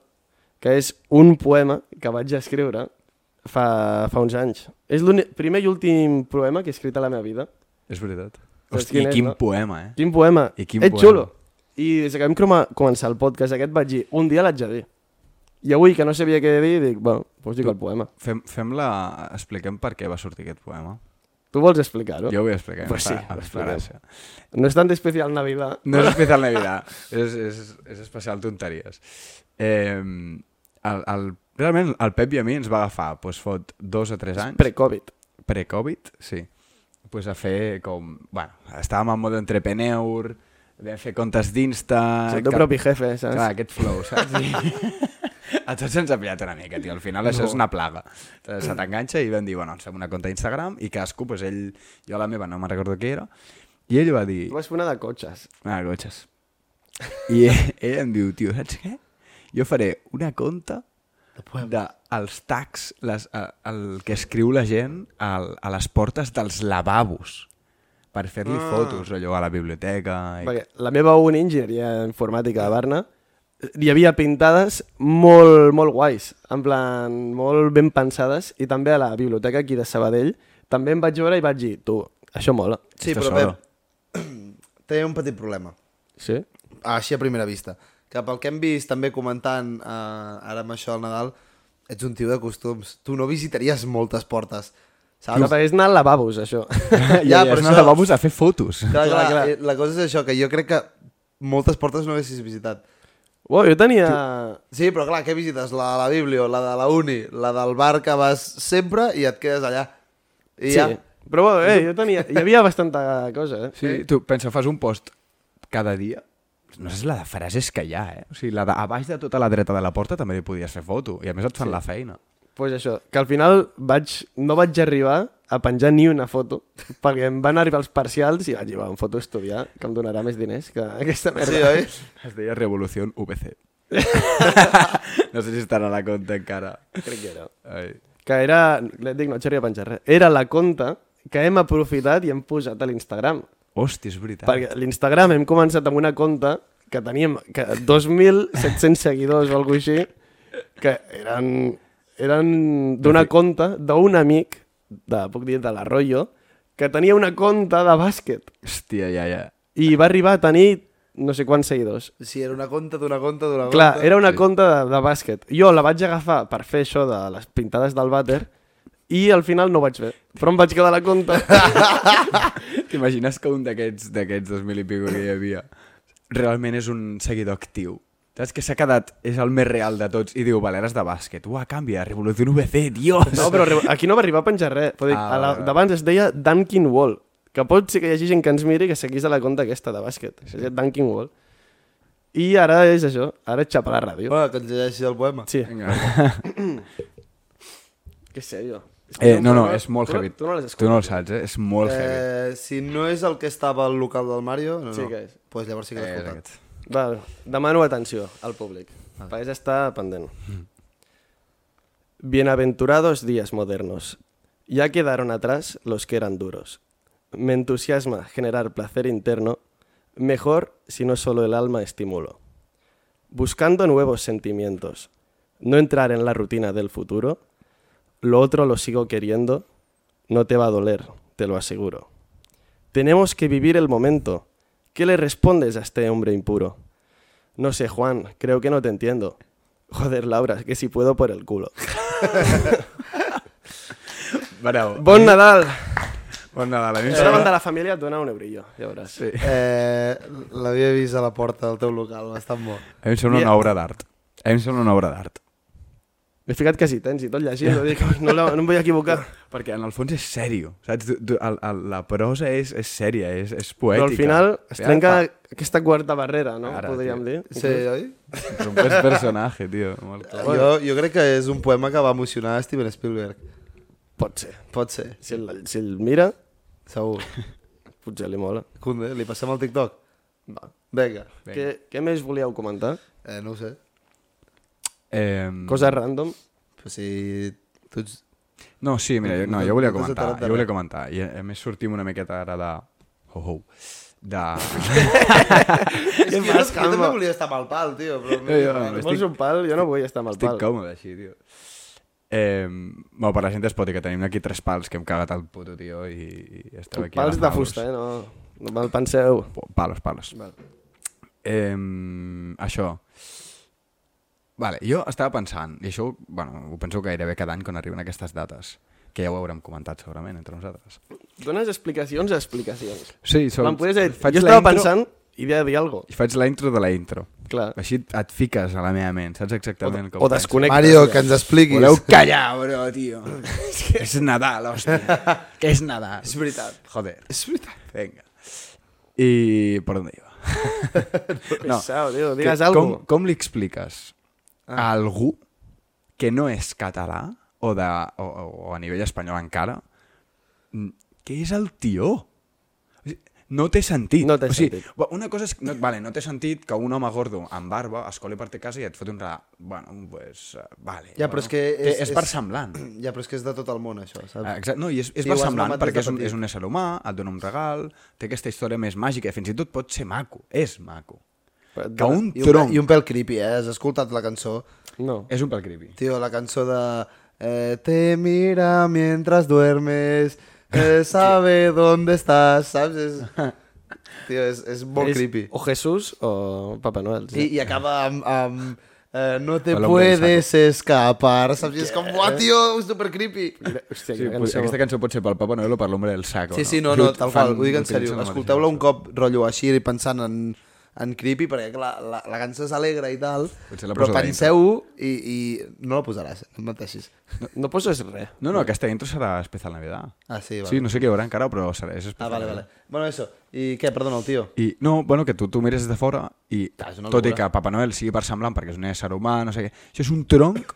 que és un poema que vaig escriure fa, fa uns anys. És el primer i últim poema que he escrit a la meva vida.
És veritat.
Saps
Hosti,
quin és,
quin
no?
poema, eh?
Quin poema.
I quin
Ets
poema.
xulo. I des que vam coma- començar el podcast aquest vaig dir, un dia l'haig de dir. I avui, que no sabia què dir, dic, bueno, doncs dic el poema.
Fem, fem la... Expliquem per què va sortir aquest poema.
Tu vols explicar-ho?
Jo ho vull explicar.
Pues sí, ho expliquem.
explicar
No és tan especial Navidad.
No és especial Navidad, és, és, és especial tonteries. Eh, el, el, realment, el Pep i a mi ens va agafar, doncs fot dos o tres anys,
Pre-Covid.
pre-Covid, sí, pues a fer com... Bueno, estàvem en mode entrepreneur, vam fer comptes d'Insta...
Soc tu propi jefe, saps?
Clar, aquest flow, saps? I... A tots ens ha pillat una mica, tio. Al final això és una plaga. Entonces, Se t'enganxa i vam dir, bueno, ens fem una compte d'Instagram i cadascú, pues, ell... Jo la meva no me'n recordo què era. I ell va dir...
Tu vas fer una de cotxes.
Ah, cotxes. I ell, ell em diu, tio, saps què? Jo faré una conta de els tags, les, eh, el que escriu la gent al, a les portes dels lavabos per fer-li ah. fotos, allò, a la biblioteca... I...
Perquè la meva uni, enginyeria informàtica de Barna, hi havia pintades molt, molt guais, en plan, molt ben pensades, i també a la biblioteca aquí de Sabadell també em vaig veure i vaig dir, tu, això mola.
Sí,
Esto
però
solo.
Pep, té un petit problema.
Sí?
Així a primera vista. Que pel que hem vist també comentant eh, ara amb això al Nadal, ets un tio de costums. Tu no visitaries moltes portes,
Ara
saps?
és anar al lavabos, això.
Ja,
Ja,
però
però
això-
als lavabos a fer fotos.
Clar, clar,
clar.
eh, La cosa és això, que jo crec que moltes portes no haguessis visitat.
Uau, jo tenia...
Sí, però clar, què visites? La de la Biblio, la de la Uni, la del bar que vas sempre i et quedes allà. I
Sí,
ja.
però bueno, eh, jo tenia... Hi havia bastanta cosa, eh?
Sí, tu pensa, fas un post cada dia, no saps la de frases que hi ha, eh? O sigui, la de, a baix de tota la dreta de la porta també li podies fer foto, i a més et fan sí. la feina.
pues això, que al final vaig, no vaig arribar a penjar ni una foto, perquè em van arribar els parcials i vaig dir, va, em foto a estudiar, que em donarà més diners que aquesta merda.
Sí, oi?
Es deia Revolució VC. no sé si estarà a la conta encara.
Crec que era.
Ai.
Que era, et dic, no vaig arribar a penjar res, era la conta que hem aprofitat i hem posat a l'Instagram.
Hosti, és veritat.
Perquè l'Instagram hem començat amb una conta que teníem que 2.700 seguidors o alguna així, que eren, eren d'una conta d'un amic, de, puc dir, de l'Arroyo, que tenia una conta de bàsquet
Hòstia, ja, ja.
i va arribar a tenir no sé quants seguidors.
Sí, era una conta d'una conta d'una conta.
Clar, era una conta de, de bàsquet. Jo la vaig agafar per fer això de les pintades del vàter i al final no ho vaig fer. Però em vaig quedar la conta.
T'imagines que un d'aquests d'aquests 2.000 i pico que hi havia realment és un seguidor actiu? Saps que s'ha quedat, és el més real de tots, i diu, vale, ara és de bàsquet. Uah, canvia, Revolució VC, dios!
No, però arriba- aquí no va arribar a penjar res. Però dic,
Ah,
ah, a la,
vale, vale.
d'abans es deia Dunkin Wall, que pot ser que hi hagi gent que ens miri que seguís a la conta aquesta de bàsquet. Sí. És Dunkin Wall. I ara és això, ara és xapar la ràdio.
Bueno, que ens llegeixis el poema.
Sí,
Vinga.
que sèrio. És que
Eh, no, no, és molt
tu no-
heavy.
Tu no l'has
Tu
escoltat.
no el saps, eh? És molt heavy.
Eh, si no és el que estava al local del Mario, no,
Sí
no.
que és.
Pues llavors sí que l'he
Eh, és
escoltat.
aquest.
Va, demano atenció al públic. País està pendent. Bienaventurados días modernos. Ya quedaron atrás los que eran duros. Me entusiasma generar placer interno, mejor si no solo el alma estimulo. Buscando nuevos sentimientos, no entrar en la rutina del futuro, lo otro lo sigo queriendo, no te va a doler, te lo aseguro. Tenemos que vivir el momento. ¿Qué le respondes a este hombre impuro? No sé, Juan, creo que no te entiendo. Joder, Laura, que si puedo por el culo.
Bravo.
Bon Eh, Nadal!
Bon Nadal, a mi em
Si no
sembla...
de la família et dona un eurillo, ja veuràs. Sí.
Eh, L'havia vist a la porta del teu local, bastant bo.
A mi em sembla una obra d'art. A mi em sembla una obra d'art.
M'he ficat quasi tens i tot llegint, no, dic, no, la, no em vull equivocar.
Perquè en el fons és sèrio, saps? Du, du, el, el, la prosa és, és sèria, és, és
Però
poètica.
al final es
Ja,
trenca
fa-
aquesta quarta barrera, no?
Ara,
Ara, Podríem
tio.
dir.
Sí, oi?
És un pers personatge, tio. Molt
Ah,
clar.
Jo, jo crec que és un poema que va emocionar Steven Spielberg.
Pot ser.
Pot ser.
Si el, si el mira,
Segur.
Potser li mola.
Cunde, li passem el TikTok?
Va.
Vinga.
Vinga.
Què, què més volíeu comentar?
Eh, no ho sé.
Eh,
Coses random?
Però si tu ets...
No, sí, mira, jo, no, jo volia
No t'has
comentar,
assabentat de
jo volia
res.
comentar, i eh, a a més sortim una miqueta ara de... Ho, ho, de...
És que jo,
fas,
jo també
Carme?
volia estar mal pal, tio. Però...
Jo, jo,
Estic...
Estic-
Vols un pal? Jo no vull estar amb el
Estic
pal.
còmode així, tio. Eh, bueno, per la gent d'Espoti, que tenim aquí tres pals que hem cagat al puto, tio, i, i esteu aquí... a
Pals
les
de
maules.
fusta, eh? No, no me'l penseu.
Pu- Palos, palos.
Val.
Eh, això. Vale, jo estava pensant, i això bueno, ho penso gairebé cada any quan arriben aquestes dates, que ja ho haurem comentat segurament entre nosaltres.
Dones explicacions a explicacions.
Sí,
So,
sobre...
podries dir,
faig
jo
la
estava
intro-
pensant i havia de dir alguna cosa.
I faig la intro de la intro.
Clar.
Així et fiques a la meva ment, saps exactament el que
Ah. O
penso.
desconnectes.
Mario, que ens expliquis.
Voleu callar, bro, tio. és Nadal, hòstia. que és Nadal. És veritat. Joder. És veritat. Vinga. I... Per on iba?
No. Pesau, tio, digues
Que-
alguna
Com, com li expliques a algú que no és català o, de, o, o- o a nivell espanyol encara mm, que és el tió? O sigui, No té sentit.
No té
o sigui,
sentit.
va- Una cosa és... No, vale, no té sentit que un home gordo amb barba es coli per te casa i et fot un regal. Bueno, pues... eh, Vale.
Ja,
bueno.
però és que...
Té- és, per semblant.
Ja, però és que és de tot el món, això, saps?
Ah, Exacte, no, i és, és
I ho has
semblant
mamat des
perquè
de
és un,
petit.
és un ésser humà, et dona un regal, té aquesta història més màgica i fins i tot pot ser maco, és maco.
Però et
Que
dona-
un
I un,
tronc...
I un pèl creepy, eh? Has escoltat la cançó?
No.
És un pèl creepy.
Tio, la cançó de... Eh, te mira mientras duermes, eh, sabe dónde estás, saps? És, tio, és, és molt
És
creepy.
O Jesús o Papa Noel.
I, i acaba amb... amb eh, no te
El hombre del
puedes escapar, saps? I és com, buah, tio, super creepy.
Hòstia,
Sí,
sí,
pot,
cançó.
aquesta cançó pot ser pel Papa Noel o per l'Hombre del Saco.
Sí, sí, no, no, tal qual, ho dic en sèrio. Escolteu-la un
cop.
cop, rotllo, així, pensant en, en creepy, perquè clar, la, la cançó és alegre i tal,
Potser la
però
poso dintre.
penseu-ho i, i no la posaràs, no et menteixis.
No, no poses res.
No, no, aquesta intro serà especial Navidad.
Ah, sí, vale.
Sí, no sé què hi haurà encara, però serà, és especial.
Ah, vale, vale.
Navidad.
Bueno, eso. I què, perdona, el tio?
I, no, bueno, que tu, tu mires des de fora i,
Ah, és una
tot i que
locura.
Papa Noel sigui per semblant, perquè és un ésser humà, no sé què, això és un tronc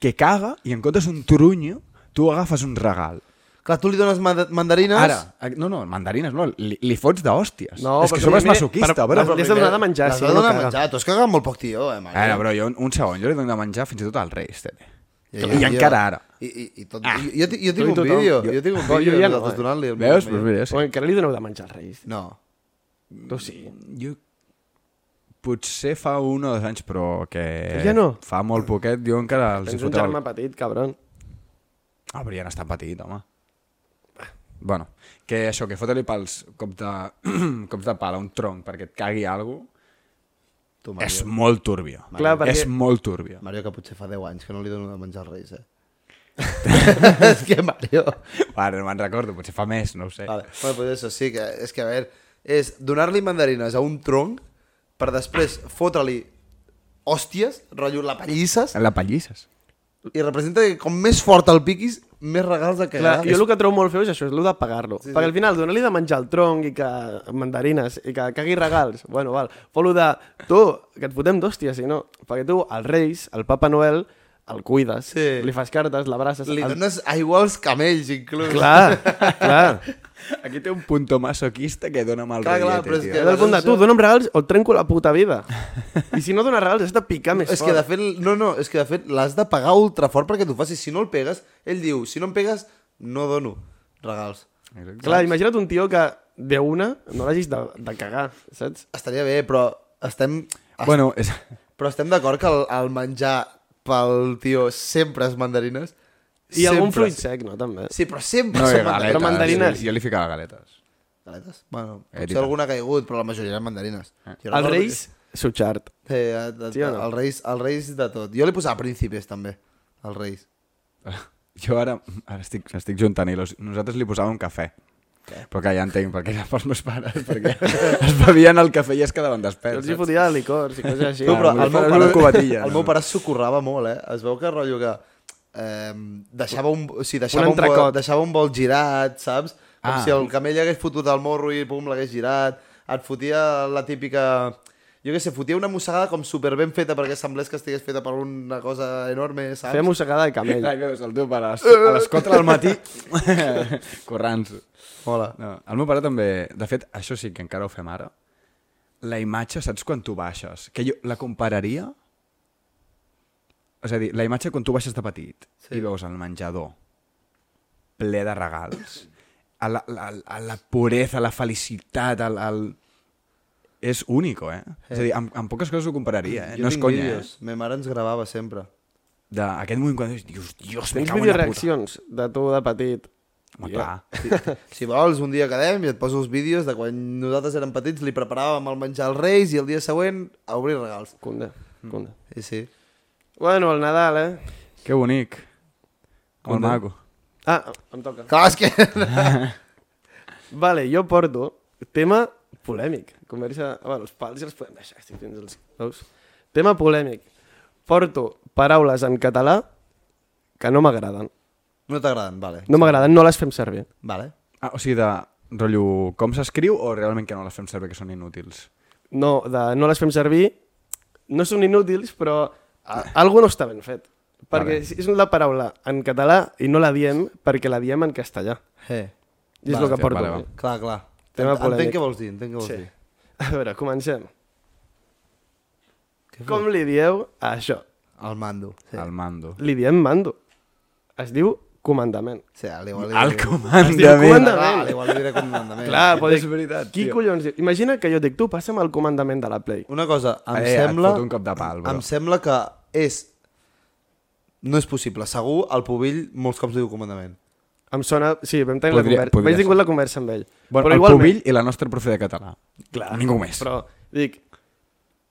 que caga i en comptes d'un trunyo tu agafes un regal.
Clar, tu li dones manda- mandarines...
Ara, eh, no, no, mandarines no, li, li fots d'hòsties.
No,
és que
però
som
primer-
masoquista,
per-
bro.
per- Li has de donar de menjar,
L'has
si
de
no, no
donar de
caga.
menjar. Tu has cagat molt poc, tio, eh, mare.
Ara, bro, jo un, un segon, jo li dono de menjar fins i tot al Reis, tene. I, encara ara.
I, i, i tot... Ah, jo, ti-
tu i
jo tinc un
tothom.
vídeo,
Jo-
jo tinc un
No, jo
vídeo
ja
de
no,
nosaltres
eh.
donant-li... el
Veus?
meu
Pues
vídeo.
mira, sí.
O encara li doneu de menjar als reis.
No.
Tu sí.
Jo... Potser fa un o dos anys, però que...
Ja no.
Fa molt poquet, jo encara els hi
Tens un
foteu...
germà
El...
petit, cabron.
Ah, però ja n'està petit, home. Bueno, que això, que fotre-li pals cops de, cops de pala a un tronc perquè et cagui alguna
Tu, Mario.
és molt turbio.
Clar, perquè-
És molt turbio.
Mario, que potser fa 10 anys que no li dono de menjar als reis, eh? és que, Mario...
Ara no me'n recordo, potser fa més, no ho sé.
Vale. Bueno, pues eso, sí, que, és que, a veure, és donar-li mandarines a un tronc per després fotre-li hòsties, rotllo la pallisses,
La pallisses.
i representa que com més fort el piquis, més regals de
Clar,
cagar.
jo el que trobo molt feu és això, és el de pagar-lo. Sí, Perquè al final, donar-li de menjar al tronc i que mandarines i que cagui regals, bueno, val. Però el de, tu, que et fotem d'hòstia, si no. Perquè tu, als Reis, al Papa Noel, el cuides,
Sí.
li fas cartes, l'abraces...
Li
El...
dones aigua als camells, inclús.
Clar, clar.
Aquí té un punto masoquista que dona mal eh,
Clar,
clar,
clar,
rotllete,
però és
tio.
És el punt de, tu, dona'm regals o et trenco la puta vida. I si no dones regals, has de picar més
És que,
fort.
de fet, no, no, és que, de fet, l'has de pagar ultra fort perquè t'ho facis. Si no el pegues, ell diu, si no em pegues, no dono regals.
Exacte.
Clar, imagina't un tio que de una no l'hagis de, de cagar, saps?
Estaria bé, però estem...
Bueno, és...
Però estem d'acord que el, el menjar pel tio sempre és mandarines?
I algun fruit sec, no, també.
Sí, però sempre
No,
són
i
mandarines.
galetes.
Però mandarines.
Jo, jo li ficava galetes.
Galetes? Bueno,
Eh, Ah.
potser
tita.
alguna ha caigut, però la majoria eren mandarines. Jo
Els
recordo que-
Reis, sutxart.
Eh, a- a-
Sí o no?
els, reis, els reis de tot. Jo li posava príncipes, també, els reis.
Jo ara, ara estic, estic juntant hilos. Nosaltres li posàvem cafè. Però que ja entenc, perquè era pels meus pares, perquè es bevien el cafè i es quedaven
Jo
desperts.
els hi
saps?
fotia licors i coses així.
No, però
volia
el meu
fer
pare,
una cubatilla,
el
no?
meu pare s'ocorrava molt, eh? Es veu que rotllo que eh, deixava un, o sigui, deixava,
Un
un, bol,
entrecot.
deixava un bol girat, saps? Com
Ah.
si el camell hagués fotut el morro i pum, l'hagués girat. Et fotia la típica... Jo què sé, fotia una mossegada com super ben feta perquè semblés que estigués feta per una cosa enorme, saps?
Feia mossegada de camell.
Ai, veus, el teu pare a les- a les 4 del matí corrents.
Hola.
No, el meu pare també... De fet, això sí que encara ho fem ara. La imatge, saps quan tu baixes? Que jo la compararia... És a dir, la imatge quan tu baixes de petit sí. i veus el menjador ple de regals, a la, la, a la puresa, a la felicitat, al... al... És único, eh? És a dir, amb, amb poques coses ho compararia, eh?
Jo
no és
tinc
conya,
vídeos.
eh?
Ma mare ens gravava sempre.
D'aquest moment quan dius, dius, Dios, me
Tens
cago en la puta.
videoreaccions de tu de petit.
Home, clar.
Si, si vols, un dia quedem i et poso els vídeos de quan nosaltres érem petits, li preparàvem el menjar als Reis i el dia següent a obrir regals.
Cunda,
Mm.
cunda.
Sí, sí.
Bueno, el Nadal, eh?
Que bonic. Molt
Content.
maco.
Ah, em toca.
Clar, és que...
Vale, jo porto tema polèmic. Conversa... Bueno, els pals ja els podem deixar, estic fins als nous. Tema polèmic. Porto paraules en català que no m'agraden.
No t'agraden, vale.
No m'agraden, no les fem servir.
Vale.
Ah, o sigui, de rotllo com s'escriu o realment que no les fem servir que són inútils?
No, de, no les fem servir. No són inútils, però a, algú no està ben fet. Perquè
Vale.
si és la paraula en català i no la diem perquè la diem en castellà.
Eh.
I és
Vale,
el que
tio,
porto.
vale,
Vale,
va. Oh,
Clar, clar.
Tema
Ent-
polèmic.
Entenc què vols dir, entenc què vols
Sí.
dir.
A veure, comencem.
Què
Com li dieu a això?
El mando. Sí.
Sí. El mando.
Li diem mando. Es diu comandament.
Sí, al igual li
El
diré-
comandament.
comanda-
Ah, al igual li diré comandament.
Clar, però
Eh, és
dic,
veritat,
Qui
tio.
collons diu? Imagina que jo dic, tu, passa'm el comandament de la Play.
Una cosa, em
Eh, et
sembla...
foto un cop de pal, bro.
Em sembla que és... No és possible. Segur, el Pubill molts cops li diu comandament.
Em sona... Sí, vam tenir
Podria-
la conversa.
podria
Vaig tingut
ser.
la conversa amb ell.
Bueno,
però
el
igualment,
Pubill i la nostra profe de català. Clar. Ningú més. Però...
Però dic,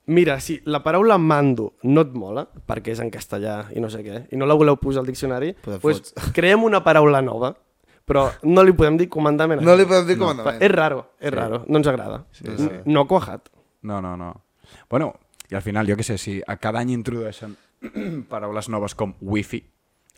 mira, si la paraula mando no et mola, perquè és en castellà i no sé què, i no la voleu posar al diccionari,
Pues et
doncs creem una paraula nova, però no li podem dir comandament. a
No li
ell.
podem dir
Fa-
comandament.
És raro, és raro, no ens agrada.
sí.
N- No ha cuajat.
No, no, no. Bueno, i al final, jo què sé, si a cada any introdueixen paraules noves com wifi,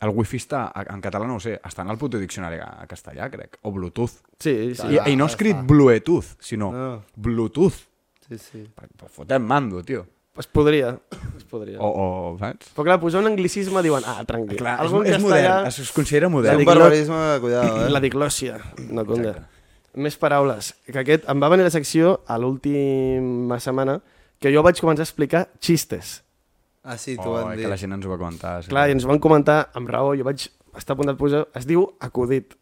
el wifi està, en català no ho sé, està en el puto diccionari a castellà, crec, o bluetooth.
Sí, sí.
I, I no ha escrit bluetooth, sinó
No.
bluetooth.
Sí, sí.
Fotem mando, tio.
Es podria, es podria.
O, o saps?
Però clar, posar un anglicisme diuen, ah, tranquil.
Oh. Clar,
Algú en
és, és
castellà-
modern, es, es considera
És
modern.
un
dic-
barbarisme, cuidado, eh?
La diglòsia, no compta. Més paraules. Que aquest em va venir a la secció a l'última setmana que jo vaig començar a explicar xistes.
Ah, sí, t'ho
Oh,
van
que
dir.
la gent ens ho va comentar. Sí.
Clar, i ens van comentar amb raó, jo vaig estar a punt de posar... Es diu acudit.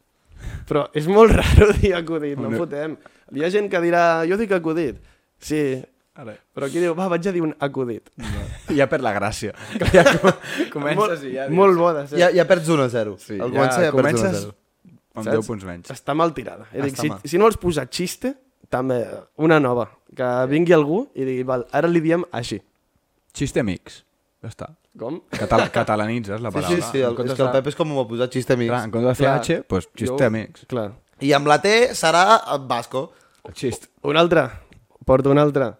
Però és molt raro dir acudit, no
Una-
fotem. Hi ha gent que dirà, jo dic acudit. Sí,
Ara.
però aquí diu, va, vaig a dir un acudit.
Ja perd la gràcia. Ja com- comences
molt,
i ja dius...
Molt bo de ser.
Ja, ja perds 1 a 0. Sí, el comença ja, ja perds 1 a
comences
0.
amb
Saps?
10 punts menys.
Està mal tirada. Eh? Dic,
Està
si,
mal.
si no vols posar xiste, també una nova. Que vingui algú i digui, val, ara li diem així.
Xiste amics. Ja està.
Com?
Català, catalanitzes la
Sí,
paraula.
sí, sí, el, és que el Pep és com ho va posar xiste amics.
Clar, en comptes de fer
Clar.
H, doncs xiste
Jo-
amics.
Clar.
I amb la T serà el Vasco.
El xist.
Una altra. Porto una altra.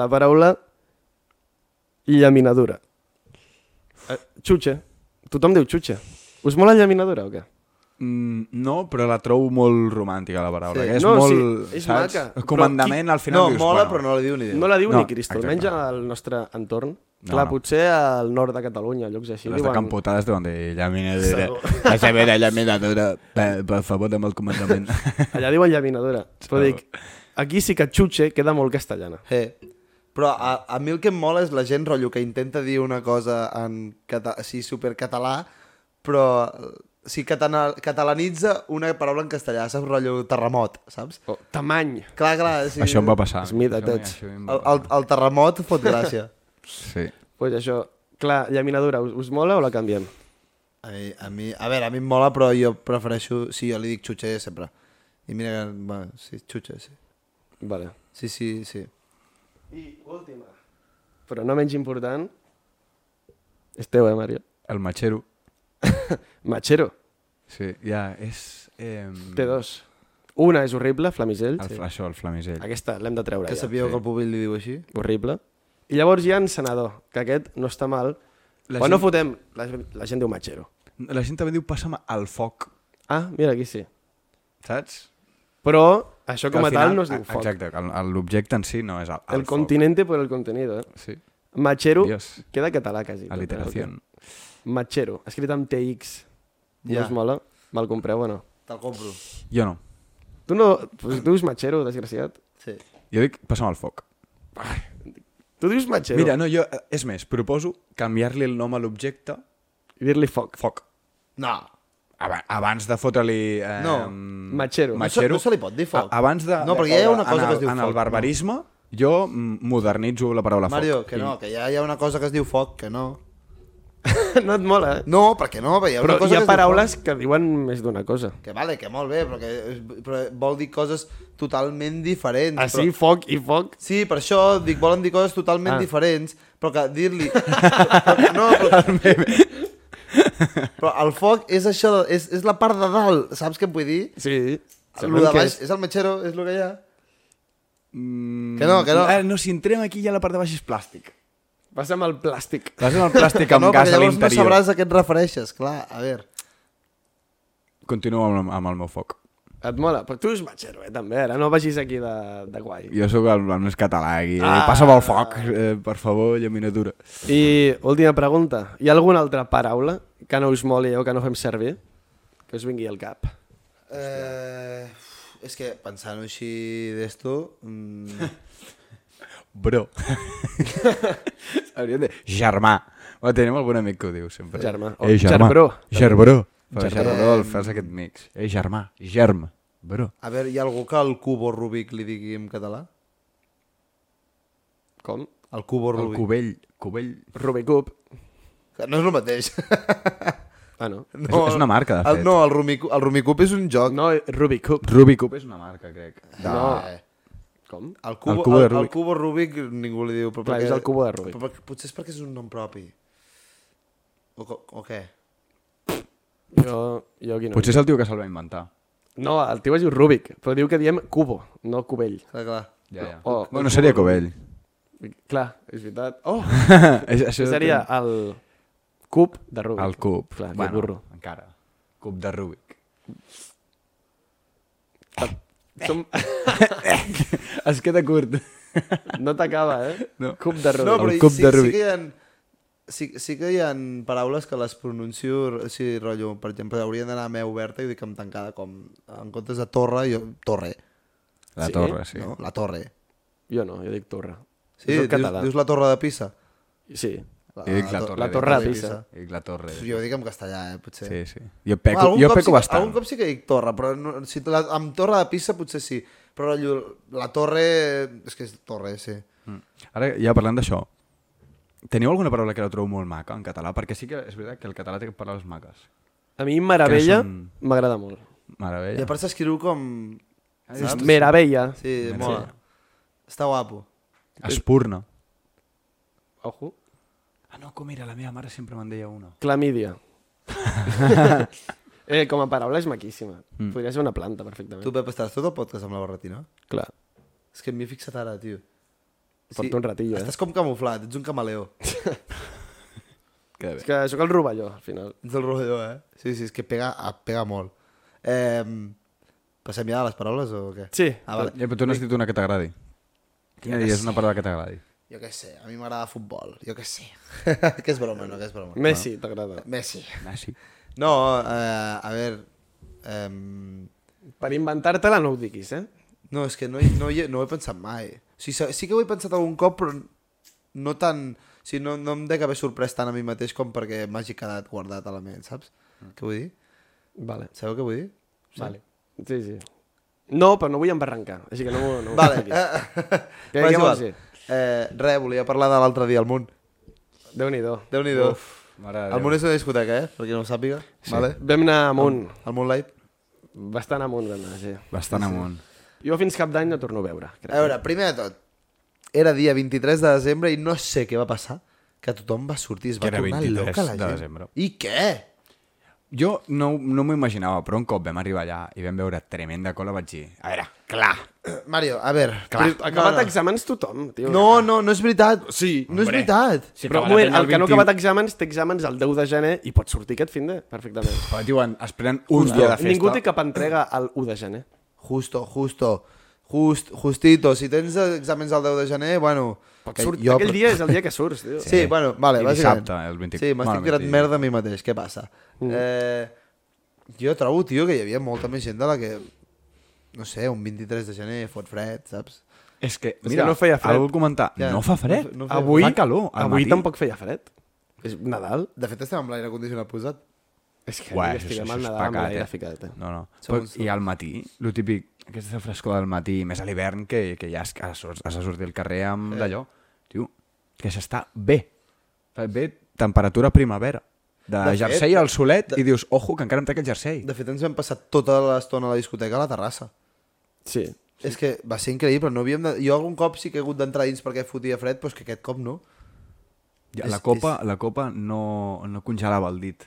La paraula llaminadura. Eh, xutxe. Tothom diu xutxe. Us mola llaminadura o què?
Mm, no, però la trobo molt romàntica, la paraula.
Sí.
Que és
No, sí,
molt,
és
saps?
maca, però
Comandament,
qui-
al final
no,
dius...
mola,
bueno,
però no la diu ni Déu.
No la diu
No,
ni Cristo,
exacte.
almenys al nostre entorn.
No,
Clar,
no.
potser al nord de Catalunya, llocs així.
Les de Campotades deuen dir llaminadura. La severa llaminadura. Per, per favor, amb el comandament.
Allà diuen llaminadura. Però dic, aquí sí que xutxe queda molt castellana.
Eh. Però a, a mi el que em mola és la gent, rotllo, que intenta dir una cosa en cata així supercatalà, però eh, si catana catalanitza una paraula en castellà, saps? Rotllo terremot, saps?
Oh, tamany.
Clar, clar, sí.
Això em va passar.
Esmidatets.
Això a mi em va
El, el, el terremot fot gràcia.
Sí.
Pues això, clar, llaminadura, us, us mola o la canviem?
A mi, a mi, a veure, a mi em mola, però jo prefereixo... Sí, jo li dic xutxe sempre. I mira que... Bueno, sí, xutxe, sí.
Vale.
Sí, sí, sí.
I última. Però no menys important, és teu, eh, Mario?
El matxero.
Machero,
Sí, ja, és... Eh,
té dos. Una és horrible, flamisell.
El,
Sí.
fla- Això, el flamisell.
Aquesta l'hem de treure
Que
ja.
sabíeu que el Pubill li diu així?
Horrible. I llavors hi ha encenador, que aquest no està mal.
La
La Quan
gent-
no fotem, la, la gent diu machero.
La gent també diu passa'm al foc,
Ah, mira, aquí sí.
saps?
Però Això
Que
com
al
a tal
final-
no es diu
a-
foc.
Exacte, que el- l'objecte en si no és el,
El,
foc.
continente por el contenido, eh?
Sí,
Machero,
Dios.
queda català quasi.
aliteració.
Machero, escrit amb TX. Ja.
Ja.
No us mola? Me'l compreu o no?
Te'l compro.
Jo no.
Tu no... Pues, tu dius Machero, desgraciat.
Sí.
Jo dic, passa'm el foc.
Tu dius Machero.
Mira, no, jo, eh, és més, proposo canviar-li el nom a l'objecte
I Dir-li foc.
foc.
No.
Aba- Abans de fotre-li... Eh,
No,
Machero.
Ma-
Machero.
No se- no se li pot dir foc.
A, abans de,
No, perquè ja hi ha una cosa
en el,
que es diu
En
foc,
el
no.
barbarisme, jo mm, modernitzo la paraula
Mario,
foc.
que no, que ja hi ha una cosa que es diu foc, que no.
no et mola, eh?
No, perquè no, perquè hi ha una
Però
cosa
hi ha
que es diu
paraules que diuen més d'una cosa.
foc. Que vale, que molt bé, però, que, però vol dir coses totalment
Ah,
diferents.
Així,
Però...
foc i foc.
Sí, per això dic, volen dir coses totalment
Ah.
diferents, però que dir-li... no, però... però el foc és això, és, és la part de dalt, saps què em vull dir?
Sí.
Lo de baix, és. el metgero, és el que hi ha.
Mm,
Que no, que no.
Eh, no, si entrem aquí ja la part de baix és plàstic.
Passa amb el plàstic.
Vas amb el plàstic
Que
amb
no,
gas
perquè
a
llavors no
l'interior.
sabràs a què et refereixes, clar, a veure.
Continuo amb, amb el meu foc.
Et mola? Però tu és matxero, eh, també. Ara no vagis aquí de, de guai.
Jo sóc el, el més català aquí. Ah. Passa'm el foc, eh, per favor, llaminatura.
I última pregunta. Hi ha alguna altra paraula que no us moli o que no fem servir? Que us vingui al cap.
Eh, és que pensant així d'esto... Mm,
Bro. Hauríem de... Germà. Bueno, tenim algun amic que ho diu sempre.
Germà. O
Ei, germà.
gerbró.
Gerbró. Però
Gerbró.
gerbró el fas aquest mix. Ei, germà. Germ. Bro.
a veure, hi ha algú que el cubo Rubik li digui en català?
Com?
El cubo
El
Rubik.
cubell. Cubell.
Rubicub.
Que No és el mateix.
Ah, no.
No,
és una marca, de fet.
El, no, el, Rumicu, el Rumicup és un joc.
No, Rubicub.
Rubicub és una marca, crec.
No.
Com?
El cubo,
El cubo de
el, el
Rubik.
cubo Rubik ningú li diu. Però
Clar, és el cubo de Rubik.
Però, perquè- potser és perquè és un nom propi. O, co- o què?
Jo, jo aquí no.
Potser és el tio que se'l va inventar.
No, el tio es diu Rubik, però diu que diem cubo, no cubell.
Clar, clar.
Ja, ja.
O-
bueno, seria cubell.
Clar, és veritat. Oh!
Això
Això seria el cub de Rubik.
El cub.
Clar, bueno. burro.
Encara. Cub de Rubik.
Eh.
Som...
Eh. Es queda curt.
No t'acaba, eh?
No.
Cub de Rubik.
No, però
El cup
sí,
de Rubik.
sí que hi ha... Sí, sí que hi ha paraules que les pronuncio sí, rotllo, per exemple, haurien d'anar a mà oberta i ho dic amb tancada, com en comptes de torre, jo... Torre,
La
Sí?
torre, sí.
sí. no? La torre.
Jo no, jo dic torre.
Sí,
Soc
dius,
català.
dius la torre de Pisa.
Sí.
Jo dic la
to-
torre
la
de-
torre de Pisa.
Jo dic la torre.
Jo ho dic en castellà, eh, potser.
Sí, sí. Jo
Home,
peco,
algun
jo
cop
peco
sí, que-
bastant.
Algun cop sí que dic torre, però no, si la, amb torre de pista potser sí. Però rotllo, la torre... És que és torre, sí.
Mm. Ara, ja parlant d'això, teniu alguna paraula que la trobo molt maca en català? Perquè sí que és veritat que el català té paraules maques.
A mi Meravella
Que són-
m'agrada molt.
I
Meravella.
a part s'escriu com...
Ah,
Saps?
Meravella.
Ah, Sí,
Merci.
mola. Està guapo.
Espurna.
Ojo.
Ah, no, com era? La meva mare sempre me'n deia una.
Clamídia. eh, com a paraula és maquíssima. Mm. Podria ser una planta, perfectament.
Tu,
Tu...
Pep, estaràs tot el podcast amb la barretina?
Clar.
Eh? És que m'hi he fixat ara, tio.
Porto un ratillo, eh?
Estàs com camuflat, ets un camaleó.
Queda
És que sóc el rovelló, al final.
Ets el rotllo, eh? Sí, sí, és que pega, ah, pega molt. Eh, passem ja a les paraules o què?
Sí.
Ah, vale.
Ja, però tu n'has dit una que t'agradi. Quina diries una paraula que t'agradi?
Jo què sé, a mi m'agrada futbol, jo què sé. que és broma, no, que és broma.
Messi, t'agrada.
Messi.
Ah, sí.
No, eh, a veure... Eh,
Per inventar-te-la no ho diguis, eh?
no, és que no, hi- no, hi he- no ho he pensat mai. O sigui, sí- sí que ho he pensat algun cop, però no tan... O sigui, no, no em dec haver sorprès tant a mi mateix com perquè m'hagi quedat guardat a la ment, saps?
Mm.
Què vull dir?
Vale.
Sabeu què vull dir?
Sí. Vale. Sí, sí. No, però no vull embarrancar, així que no, m'ho- no m'ho
Vale.
fiquis.
Eh,
Què-
m'és
què vols
igual.
dir?
Eh, res, volia parlar de l'altre dia al món.
Déu-n'hi-do.
Déu-n'hi-do.
Mare de
El món és una discoteca, eh? Per qui no ho sàpiga. Sí. Vale?
Vam anar amunt,
El Moonlight.
bastant amunt vam anar, sí.
Bastant amunt.
Jo fins cap d'any no torno a veure, crec.
A veure, primer de tot, era dia 23 de desembre i no sé què va passar, que tothom va sortir, es va
Que era
tornar
23
loca
de
la gent.
desembre.
I què?
Jo no, no m'ho imaginava, però un cop vam arribar allà i vam veure tremenda cola, vaig dir, a veure, clar,
Mario, a veure...
Clar,
pri-
acabat no, no. exàmens tothom, tio.
No, no, no és veritat. Sí, no és
hombre.
veritat.
Sí, però un moment, el, que no ha acabat exàmens té exàmens el 10 de gener i pot sortir aquest fin de, perfectament.
Però diuen, es prenen un dia de festa.
Ningú té cap entrega el 1 de gener.
Justo, justo. Just, justito, si tens exàmens el 10 de gener, bueno...
Perquè
que
surt, jo... Aquell dia és el dia que surts, tio.
Sí, bueno, vale,
I
bàsicament.
dissabte, el 24.
Sí, m'estic
Bueno,
tirat
25.
merda a mi mateix, què passa?
Mm.
Eh, jo trobo, tio, que hi havia molta més gent de la que... No sé, un 23 de gener fot fred, saps?
És que,
que
mira,
no feia fred.
algú comentar,
Ja,
no fa fred.
no
No,
fa-
fa,
Avui,
fa calor. al
avui
matí.
tampoc feia fred. És Nadal.
De fet, estem amb l'aire condicionat posat.
És que
Uah,
Uà,
això, això,
estiguem
això
al
és
Nadal amb
pecat,
l'aire
eh?
ficat. Eh?
No, no.
Segons
Però, I al matí, el típic, aquesta frescor del matí, més a l'hivern, que, que ja has, has, has de sortir al carrer amb eh. d'allò. Tio, que s'està bé. Està bé temperatura primavera. De,
De fet,
jersei al solet i dius, ojo, que encara em trec el jersei.
De fet, ens vam passar tota l'estona a la discoteca a la terrassa.
Sí.
És que va ser increïble, no havíem de... Jo algun cop sí que he hagut d'entrar dins perquè fotia fred, però és que aquest cop no.
Ja,
és-
la copa, la copa no, no congelava el dit.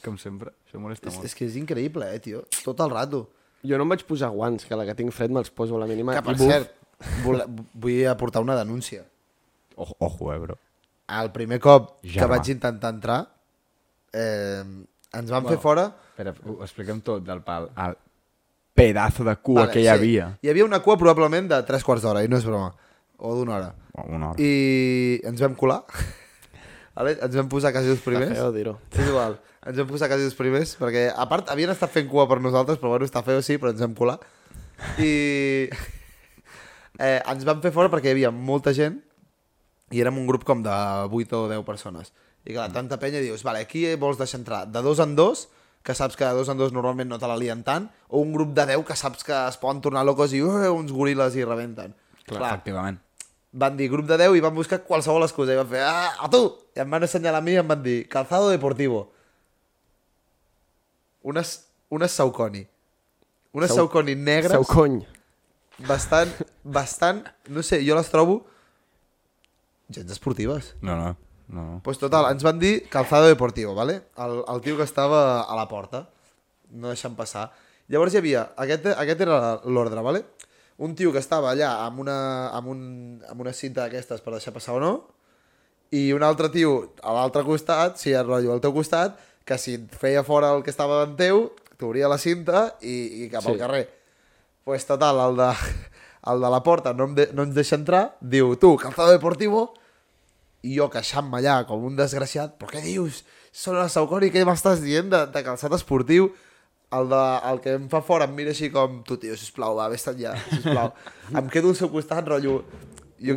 Com sempre. Això molesta
És,
molt.
és que és increïble, eh, tio. Tot el rato.
Jo no em vaig posar guants, que la que tinc fred me'ls poso a la mínima.
Que, per
i buf.
cert, vole- vull aportar una denúncia.
Ojo, ojo, eh, bro.
El primer cop que
Germà.
vaig intentar entrar, eh, ens van fer fora...
Espera, ho expliquem tot del pal. El pedazo de cua
Vale,
que hi
sí.
havia.
Hi havia una cua probablement de tres quarts d'hora, i no és broma. O d'una hora.
Una hora.
I ens vam colar. Vale? Ens vam posar quasi els
Està
primers.
feo dir-ho.
És igual. Ens vam posar quasi els primers, perquè, a part, havien estat fent cua per nosaltres, però bueno, està feo, sí, però ens vam colar. I... Eh, ens van fer fora perquè hi havia molta gent i érem un grup com de 8 o 10 persones. I clar, tanta penya dius, vale, aquí vols deixar entrar de dos en dos, que saps que de dos en dos normalment no te la lien tant, o un grup de 10 que saps que es poden tornar locos i uh, uns goril·les i rebenten.
Clar, efectivament.
van dir grup de 10 i van buscar qualsevol excusa i van fer, ah, a tu! I em van assenyalar a mi i em van dir, calzado deportivo. Unes, unes sauconi. Unes Sau... sauconi negres,
Seu cony.
bastant, bastant, no sé, jo les trobo gens esportives.
No, no. no, no.
Pues total, ens van dir calzado deportivo, ¿vale? El, el tio que estava a la porta. No deixant passar. Llavors hi havia... Aquest, aquest era l'ordre, ¿vale? Un tio que estava allà amb una, amb un, amb una cinta d'aquestes per deixar passar o no, i un altre tio a l'altre costat, si sí, el rotllo al teu costat, que si et feia fora el que estava davant teu, t'obria la cinta i, i cap sí. al
Sí.
carrer. Pues total, el de, el de la porta no, em de, no ens deixa entrar, diu, tu, calzado deportivo, i jo queixant-me allà com un desgraciat, però què dius? Són la Sauconi, què m'estàs dient de, de calçat esportiu? El, de, el que em fa fora em mira així com, tu tio, sisplau, va, vés allà, sisplau. em quedo al seu costat, rotllo... Jo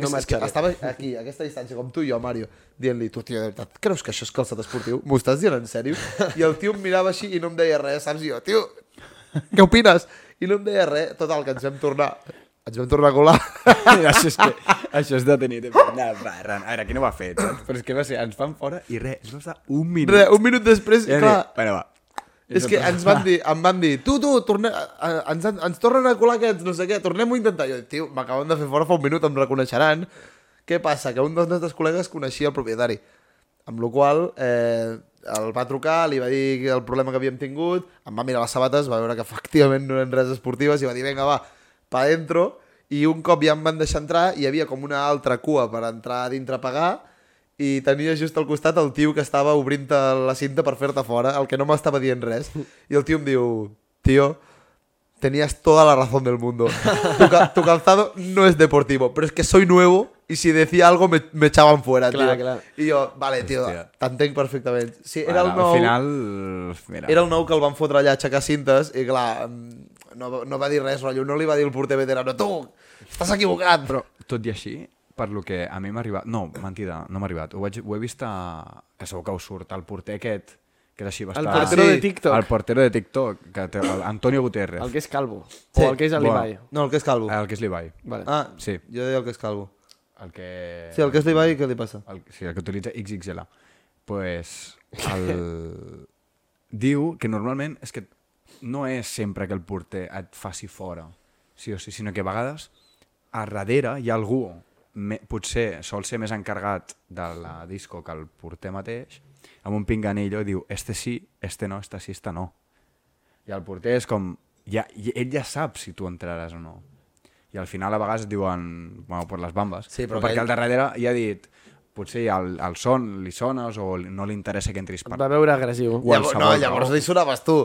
No
no que
marxaré.
estava aquí, a aquesta distància, com tu i jo, Mario, dient-li, tu, tio, de veritat, creus que això és calçat esportiu? M'ho estàs dient en sèrio? I el tio em mirava així i no em deia res, saps? I jo, tio, què opines? I no em deia res. Total, que ens vam tornar... Ens vam tornar a colar.
això, és que, això és de tenir temps. Una barra. A veure, aquí no ho ha fet. saps? Però és que va ser, ens fan fora i res. Ens va estar un minut.
Re, un minut després,
I vam dir,
clar,
Bueno, va.
és que ens van dir, em van dir, tu, tu, torne, eh, ens, han- ens tornen a colar aquests, no sé què, tornem-ho a intentar. Jo, tio, m'acaben de fer fora fa un minut, em reconeixeran. Què passa? Que un dels nostres col·legues coneixia el propietari. Amb la qual cosa, eh, el va trucar, li va dir el problema que havíem tingut, em va mirar les sabates, va veure que efectivament no eren res esportives i va dir, vinga, va, pa dentro. I un cop ja em van deixar entrar, hi havia com una altra cua per entrar a dintre a pagar i tenia just al costat el tio que estava obrint la cinta per fer-te fora, el que no m'estava dient res. I el tio em diu, tio, tenías toda la razón del mundo. Tu, ca- tu calzado no es deportivo, pero es que soy nuevo y si decía algo me, me echaban fuera,
Clar,
tio.
clar.
I jo, vale, tio,
Hòstia.
t'entenc perfectament. Sí,
Bueno,
era el nou,
Al final, mira.
era el nou que el van fotre allà a aixecar cintes i clar, mm, no, no va dir res, rotllo, no li va dir el porter veterano, tu, estàs equivocat. Però,
Tot i així, per lo que a mi m'ha arribat... No, mentida, no m'ha arribat. Ho, vaig, ho he vist a... Que segur que us surt, el porter aquest, que és així bastant...
portero
sí.
de TikTok.
El portero de TikTok, que té, el Antonio Guterres.
El
El
que és calvo.
Sí.
O el que és el
Bueno.
Ibai.
no, el que és calvo.
que, és l'Ibai.
Vale.
Ah,
sí.
jo deia el que és calvo.
El que...
Sí, el que és l'Ibai, què li passa?
el, sí, el que utilitza XXL. pues, el... diu que normalment és que no és sempre que el porter et faci fora, sí o sí, sinó que a vegades a darrere hi ha algú, me, potser sol ser més encarregat de la disco que el porter mateix, amb un pinganillo i diu, este sí, este no, este sí, este no. I el porter és com... Ja, i ell ja sap si tu entraràs o no. I al final a vegades diuen, bueno, per les bambes.
Sí, però
perquè
ell-
al darrere ja ha dit, potser el, el son li sones o li- no li interessa que entris
Et
per...
va veure agressiu.
Qualsevol,
Llavors, no, llavors
no?
li sonaves tu.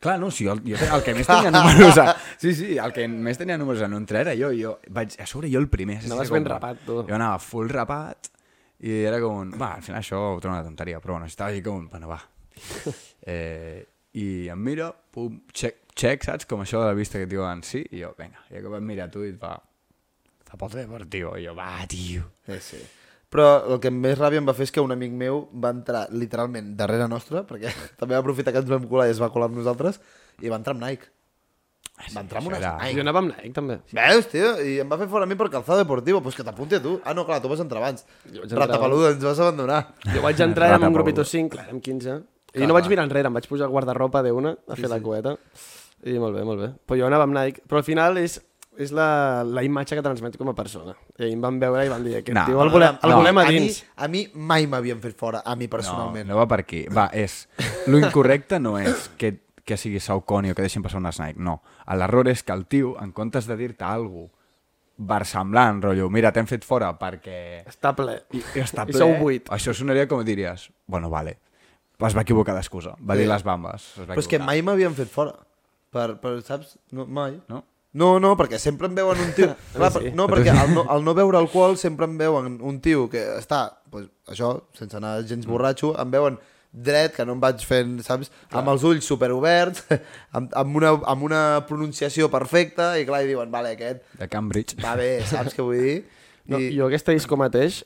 Clar, no, sí, el, jo, el que més tenia números... A, sí, sí, el que més tenia números en un era jo. jo vaig, a sobre jo el primer. saps?
Anaves
Era com-
ben rapat, tu.
Jo anava full rapat i era com un... Va, al final això ho trobo una tonteria, però bueno, estava així com un... Bueno, va. Eh, I em miro, pum, check, check, saps? Com això de la vista que et diuen sí, i jo, vinga. I de cop em mira a tu i et fa... Zapato deportivo. I jo, va, tio.
Sí, sí. Però el que més ràbia em va fer és que un amic meu va entrar literalment darrere nostra, perquè també va aprofitar que ens vam colar i es va colar amb nosaltres, i va entrar amb Nike. Va entrar
Això
amb unes
era-
Nike.
Jo anava amb Ah, Nike, també.
Veus, tio? I em va fer fora a mi per calçado deportivo. Pues que t'apunti a tu. Ah, no, clar, tu vas entrar abans.
Jo vaig entrar
Ratapaluda, ens vas abandonar.
Jo vaig entrar amb un
Rata,
grupito
Pablo.
5, clar, amb 15. I no vaig mirar enrere, em vaig posar guardarropa d'una a fer la coeta. I molt bé, molt bé. Però jo anava amb Nike. Però al final és, és la, la imatge que transmet com a persona. I em van veure i van dir, aquest
No,
no, tio el volem, el
no.
volem a
mi-
dins.
A mi, a mi mai m'havien fet fora, a mi personalment.
No, no va per aquí. Va, és... Lo incorrecte no és que, que sigui Sauconi o que deixin passar un Nike, no. L'error és que el tio, en comptes de dir-te alguna cosa versemblant, rotllo, mira, t'hem fet fora perquè...
Està ple.
I, i està
I
ple.
sou vuit.
Això sonaria com diries, bueno, vale. Es va equivocar d'excusa. Va dir
Sí.
les bambes. Es va
Però és que
equivocar.
mai m'havien fet fora. Per, per, saps? No, mai.
No?
No, no, perquè sempre em veuen un tio... Clar, per, no, perquè al no, al no beure alcohol sempre em veuen un tio que està, pues, això, sense anar
Mm.
gens borratxo, em veuen dret, que no em vaig fent, saps? Amb els ulls superoberts, amb, amb, una, amb una pronunciació perfecta, i clar, i diuen, vale, aquest
De Cambridge.
va bé, saps què vull dir? I,
No, Jo aquesta disco mateix,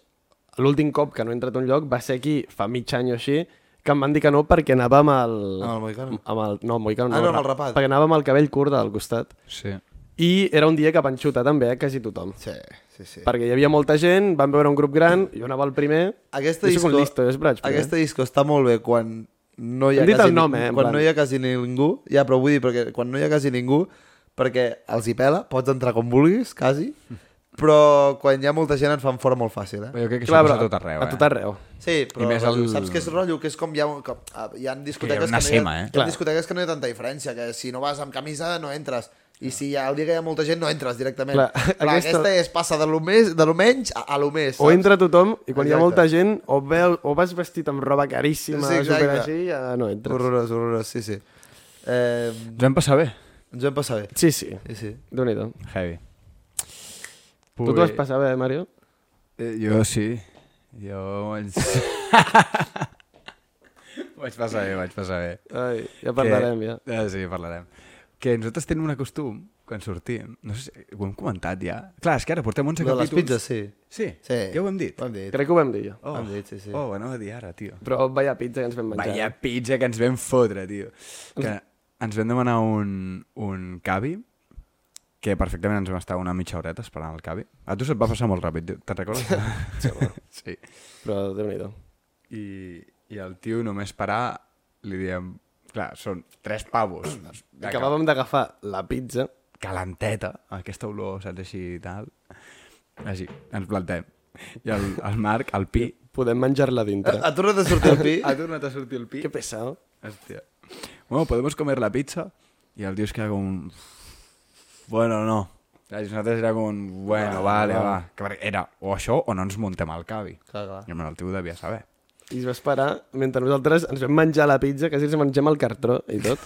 l'últim cop que no he entrat a un lloc va ser aquí fa mig any o així, que em van dir que no perquè anava amb el...
Amb el moicano.
Amb el, no, el moicano,
Ah, no, amb
ra-
el rapat.
Perquè anava amb el cabell curt del costat.
Sí.
I era un dia que van xutar també, eh, quasi tothom.
Sí, sí, sí.
Perquè hi havia molta gent, van veure un grup gran, jo anava el primer...
Aquesta
jo soc
disco,
un listo, és Brach,
aquesta disco està molt bé quan no hi ha
Hem dit
quasi,
el nom,
ni-
eh, en
quan
plan.
no hi ha quasi ningú, ja, però vull dir, perquè quan no hi ha quasi ningú, perquè els hi pela, pots entrar com vulguis, quasi, però quan hi ha molta gent et fan fora molt fàcil, eh?
Però jo crec que això passa a tot arreu,
A
eh?
tot arreu.
Sí, però
I més
rotllo,
el-
saps que és rotllo, que és com hi ha, com, ah, hi ha discoteques
una
que, no
sema,
hi ha,
eh?
hi ha
Clar.
discoteques que no hi ha tanta diferència, que si no vas amb camisa no entres. I si el dia que hi ha molta gent no entres directament. Clar,
Clar,
aquesta...
aquesta-
aquesta és passa de lo, més, de lo menys a, a lo més.
O
saps?
entra tothom i quan hi ha
Exacte.
molta gent o, veu, o vas vestit amb roba caríssima,
Sí,
sí,
exacte.
super així, ja no entres.
Horrorós, horrorós, sí, sí. Eh,
Ens vam passar bé.
ens vam passar bé.
Sí, sí.
Sí, sí.
Déu-n'hi-do.
Heavy.
Tu t'ho vas passar bé, Mario?
Eh, jo sí. Jo vaig... vaig passar bé, vaig passar bé.
Ai, ja parlarem, ja.
Que... Eh, sí, parlarem. Que nosaltres tenim un acostum, quan sortim, no sé si ho hem comentat ja. Clar, és que ara portem 11
Lo de les
capítols.
pizzas, sí.
Sí,
Sí.
ja ho hem dit.
Ho hem dit.
Crec que ho vam dir jo.
Oh,
Ho hem dit, sí, sí.
oh, anava a dir ara, tio.
Però vaya pizza que ens vam menjar.
Vaya pizza que ens vam fotre, tio. Que ens vam demanar un, un cavi, que perfectament ens vam estar una mitja horeta esperant el cavi. A tu se't va passar molt ràpid, tio. te'n recordes? sí.
Però Déu-n'hi-do.
I, I el tio només parar, li diem... Clar, són tres pavos.
Acabàvem d'agafar la pizza.
calenteta, aquesta olor, saps, així i tal. Així, ens plantem. I el, el Marc, el Pi,
Podem menjar-la dintre.
Ha tornat a sortir el pi?
ha tornat a sortir el Pi.
Que pesado.
Hòstia. Bueno, podemos comer la pizza? I el tio es queda com... Bueno, no. I nosaltres era com... Bueno, vale, va. Que perquè Era o això o no ens muntem al cavi.
Clar, clar.
I bueno, el tio ho devia saber.
I es va esperar, mentre nosaltres ens vam menjar la pizza, quasi ens mengem el cartró i tot.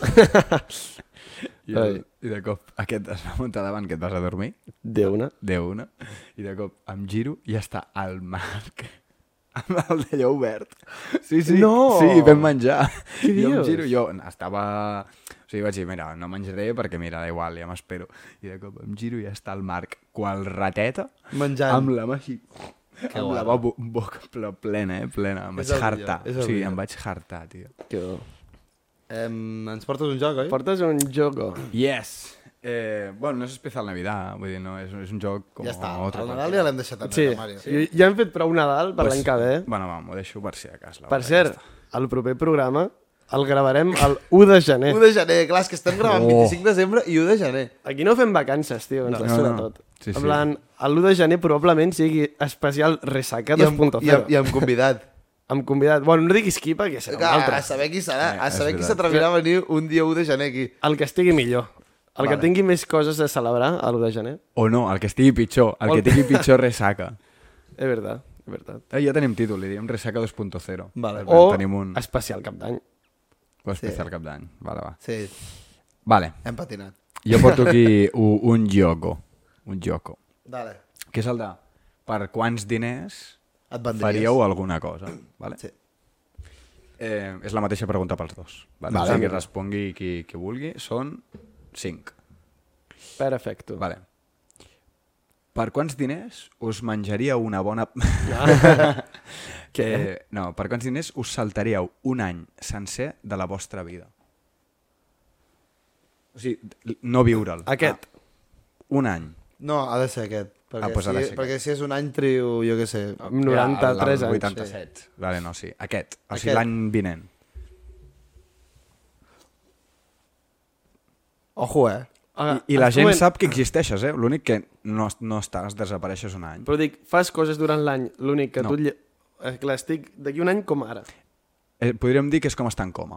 I, el, I de cop aquest es va muntar davant que et vas a dormir.
Déu-ne.
de una, i de cop em giro i ja està el Marc amb el d'allò obert. Sí, sí,
No!
sí, vam menjar.
Què
jo em
dius?
giro, jo estava... O sigui, vaig dir, mira, no menjaré perquè, mira, da igual, ja m'espero. I de cop em giro i ja està el Marc qual rateta
Menjant.
amb la mà així. Que amb la bo boca ple- plena, eh? Plena. Em vaig
És el millor,
hartar.
és
O
el
sigui,
millor.
em vaig hartar, tio.
Que bo.
Em, ens portes un joc, oi?
Portes un jogo.
Yes! Eh, bueno, no és especial Navidad, vull dir, no, és, és un joc com
Ja està.
altre
El
qualsevol.
Nadal ja l'hem deixat
Sí,
enrere, Mario.
sí. ja hem fet prou Nadal per
Pues,
l'any que ve.
Bueno, va, m'ho deixo per si de cas. la
Per
veritat,
cert, el proper programa el gravarem el 1 de gener.
1 de gener, clar, és que estem gravant
Oh.
25 de desembre i 1 de gener.
Aquí no fem vacances, tio, ens no,
no,
les surt
no.
no. tot. Sí,
Sí, sí.
sí. En plan, l'1 de gener probablement sigui especial Resaca
I amb,
2.0.
i, amb, I amb convidat.
Amb convidat. Bueno, no diguis qui perquè serà
Que
un
a,
altre.
saber qui serà, a
és
saber qui
veritat.
s'atrevirà a venir un dia 1 de gener aquí.
El que estigui millor. El vale. que tingui més coses a celebrar a l'1 de gener.
O no, el que estigui pitjor, el
O
que
el-
tingui pitjor ressaca.
És veritat, és veritat.
Eh, ja tenim títol, li diem ressaca 2.0.
Vale.
Eh,
O
Tenim un...
especial cap d'any.
O especial cap d'any. Vale, va.
Sí,
Vale.
hem patinat.
Jo porto aquí u- un joco. Un joco.
Dale.
Que és el de per quants diners
Et vendries.
faríeu alguna cosa. Vale?
Sí.
Eh, és la mateixa pregunta pels dos. Vale?
Vale.
O sigui, que respongui qui, qui vulgui. Són 5.
Perfecto.
Vale. Per quants diners us menjaria una bona... que, no, per quants diners us saltaríeu un any sencer de la vostra vida? O sigui, no viure'l.
Aquest.
Ah, un any.
No, ha de ser aquest. Perquè,
pues Ah, doncs ha de
si,
ser aquest.
perquè si és un any trio, jo què sé.
Amb 93
El- el
anys.
87. Sí. Vale, no, sí. Aquest. O sigui,
Aquest.
l'any vinent.
Ojo, eh?
Ah,
I, I la
ens
gent
comen-
sap que existeixes, eh? L'únic que no, no estàs, desapareixes un any.
Però dic, fas coses durant l'any, l'únic que
No.
no. tu... lle- Eh, Clar, estic d'aquí un any com ara.
Eh, podríem dir que és com estar en coma.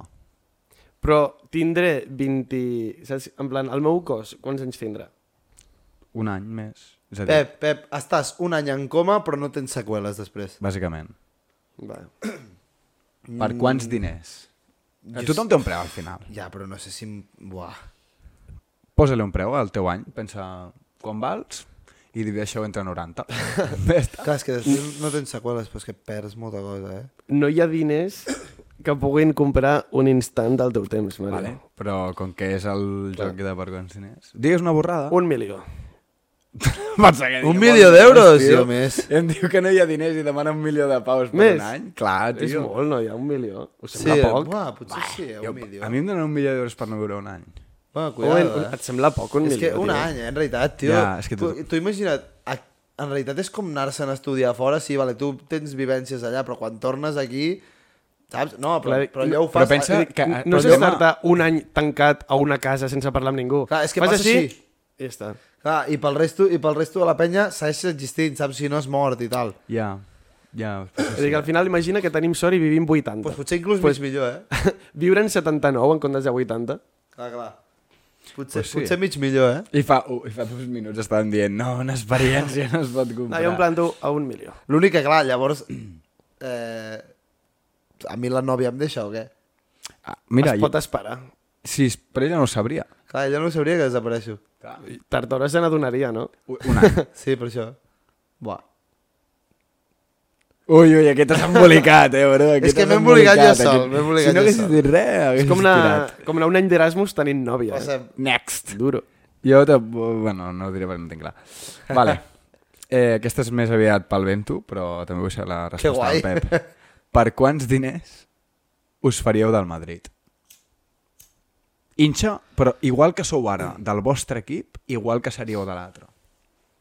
Però tindré 20... Saps? En plan, el meu cos, quants anys tindrà?
Un any més. És a dir,
Pep, Pep, estàs un any en coma però no tens seqüeles després.
bàsicament.
Va.
Per quants diners?
Jo
Tothom té un preu al final.
Ja, però no sé si... em- Buah.
Posa-li un preu al teu any, pensa quan vals i divideixeu entre 90. Ja està.
Clar, és que després no tens seqüeles, però és que perds molta cosa, eh?
No hi ha diners que puguin comprar un instant del teu temps, Mario.
vale. Però com que és el joc de per quants diners... Digues una borrada.
Un milió.
Pensa que
Un
diu,
milió
"Bons
d'euros,
diners, tio".
tio, més.
Em diu que no hi ha diners i demana un milió de paus per
Més?
un any. Clar, tio.
És molt, no? Hi ha un milió. Ho
Sí,
sembla poc?
buah, potser sí, eh?
Jo,
Un milió.
a mi em donen un milió d'euros per no viure un any.
Bueno,
Moment,
cuidado, eh?
Et sembla poc, un
És
milió?
que un
tio?
any, eh, en realitat, tio.
Ja, és que
tu...
tu-
tu imagina't, a... en realitat és com anar-se'n a estudiar a fora, sí, vale, tu tens vivències allà, però quan tornes aquí, saps? No, però,
Clar,
però allò ho
no-
fas...
però pensa
eh,
que-
N-
però
No sé
el tema-
estar un any tancat a una casa sense parlar amb ningú.
Clar, és que
Fas
passa
així,
així.
I ja està.
Clar, i pel, resto, i pel resto de la penya segueix existint, saps? Si no és mort i tal.
Ja, ja.
És a dir, que al final imagina que tenim sort i vivim 80.
Doncs pues potser inclús pues... mig millor, eh?
Viure en 79 en comptes de 80.
Clar, clar. Potser,
Pues
pues
sí.
sí. potser mig millor, eh?
I fa, uh, I fa dos minuts estàvem dient, no, una experiència no es pot
No,
comprar.
jo em planto a un milió.
L'únic que, clar, llavors... Eh, a mi la nòvia em deixa o què?
Ah, mira,
es
jo,
pot esperar.
sí, però ella no ho sabria.
Clar, ella no sabria que desapareixo.
Tard o d'hora se n'adonaria, no?
U- Un any.
Sí, per això. Buah.
Ui, ui, aquest t'has embolicat, eh, bro. Aquest
És que
t'has
m'he embolicat
embolicat,
jo sol,
aquest.
m'he
Si
embolicat
no
jo
haguessis
sol.
dit res, haguessis
És com anar,
tirat.
com anar un any d'Erasmus tenint nòvia. Eh?
Passem.
Next.
Duro.
Jo, te... bueno, no ho diré perquè no tinc clar. Vale. Eh, aquesta és més aviat pel vento, però també vull ser la resposta
guai.
del Pep. Per quants diners us faríeu del Madrid? Inxa, però igual que sou ara del vostre equip, igual que seríeu de l'altre.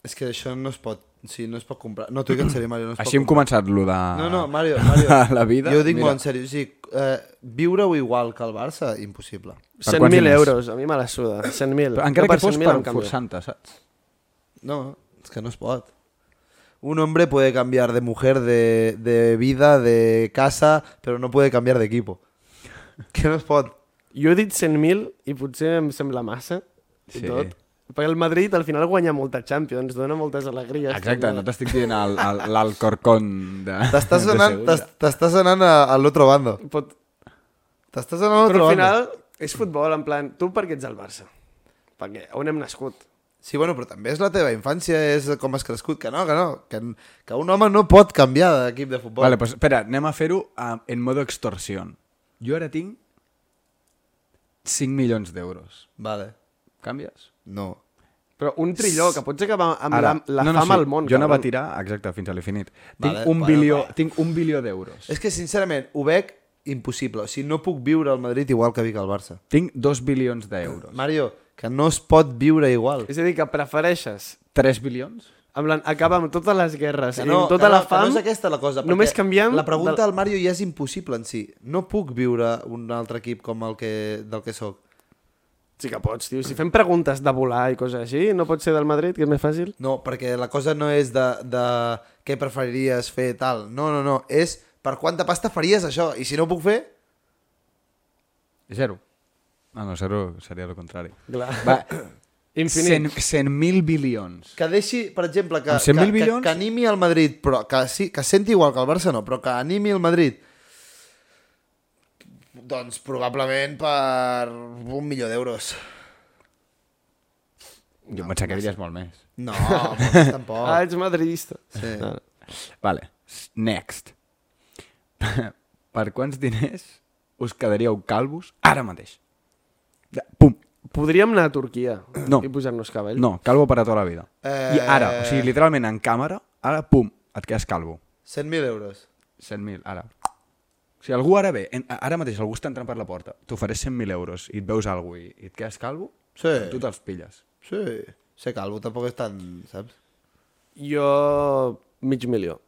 És que això no es pot... Sí, no es pot comprar. No, t'ho dic en sèrio, Mario. No es
Així hem
pot comprar.
començat lo de...
No, no, Mario, Mario.
La vida,
Jo ho dic
mira.
molt en sèrio. O sigui, eh, viure-ho igual que el Barça, impossible.
Per quants
100.000
diners?
euros, a mi me la suda. 100.000.
Però
Jo
encara que fos
100.000
per
em canvio.
forçant-te, saps?
No, es que no es pot. Un hombre puede cambiar de mujer, de, de vida, de casa, pero no puede cambiar de equipo. Que no es pot.
Jo he dit 100.000 i potser em sembla massa. Sí.
Sí.
Tot. Perquè el Madrid al final guanya molta Champions, dona moltes alegries. tota-
Exacte,
també.
no t'estic dient el- el- l'Alcorcón de...
T'estàs
de
anant,
Sevilla.
t'es- t'estàs anant a- al otro bando.
Pot...
T'estàs anant a l'altre
Però al
bando.
final és futbol, en plan, tu per què ets del Barça? Perquè on hem nascut?
Sí, bueno, però també és la teva infància, és com has crescut, que no, que no, que, que un home no pot canviar d'equip de futbol.
Vale, pues espera, anem a fer-ho eh, en modo extorsión. Jo ara tinc 5 milions d'euros.
vale.
Canvies?
No.
Però un trilló, que pots acabar amb
Ara,
la, la no, no, fama al món.
Jo anava
cabron.
a tirar, exacte, fins a l'infinit.
Vale,
tinc, un
vale,
bilió,
vale.
tinc un bilió d'euros.
És que, sincerament, ho veig impossible. O sigui, no puc viure al Madrid igual que vic al Barça.
Tinc 2 bilions d'euros.
Mario, que no es pot viure igual.
És a dir, que prefereixes
3 bilions?
en plan, acabar amb totes les guerres
Que
i amb tota
que
la
que
fam...
no és aquesta la cosa. perquè
Només canviem...
La pregunta
del-
del Mario ja és impossible en si. No puc viure un altre equip com el que, del que sóc.
Sí que pots, tio. Si fem preguntes de volar i coses així, no pot ser del Madrid, que és més fàcil?
No, perquè la cosa no és de, de què preferiries fer tal. No, no, no. És per quanta pasta faries això. I si no ho puc fer...
Zero. Ah, no, zero seria el contrari.
Clar.
Va,
Infinit.
100 100.000 bilions.
Que deixi, per exemple, que,
Amb 100.000
que, que,
milions?
que animi el Madrid, però que, sí, que senti igual que el Barça no, però que animi el Madrid Doncs probablement per un milió d'euros.
Jo em pensava que diries molt més.
No, molts tampoc.
Ah, ets madridista.
Oh.
Ah.
Sí.
No, no.
Vale, s- next. per quants diners us quedaríeu calvos ara mateix? De, pum,
Podríem anar a Turquia
No.
i posar-nos cabell.
no, calvo per a tota la vida. I ara, o sigui,
Eh.
literalment en càmera, ara, pum, et quedes calvo.
100.000 euros.
100.000, ara. Si algú ara ve, en, ara mateix algú està entrant per la porta, t'ofereix 100.000 euros i et veus algú i, i et quedes calvo,
Sí.
tu te'ls pilles.
Sí. Ser calvo tampoc és tan, saps?
Jo, mig milió.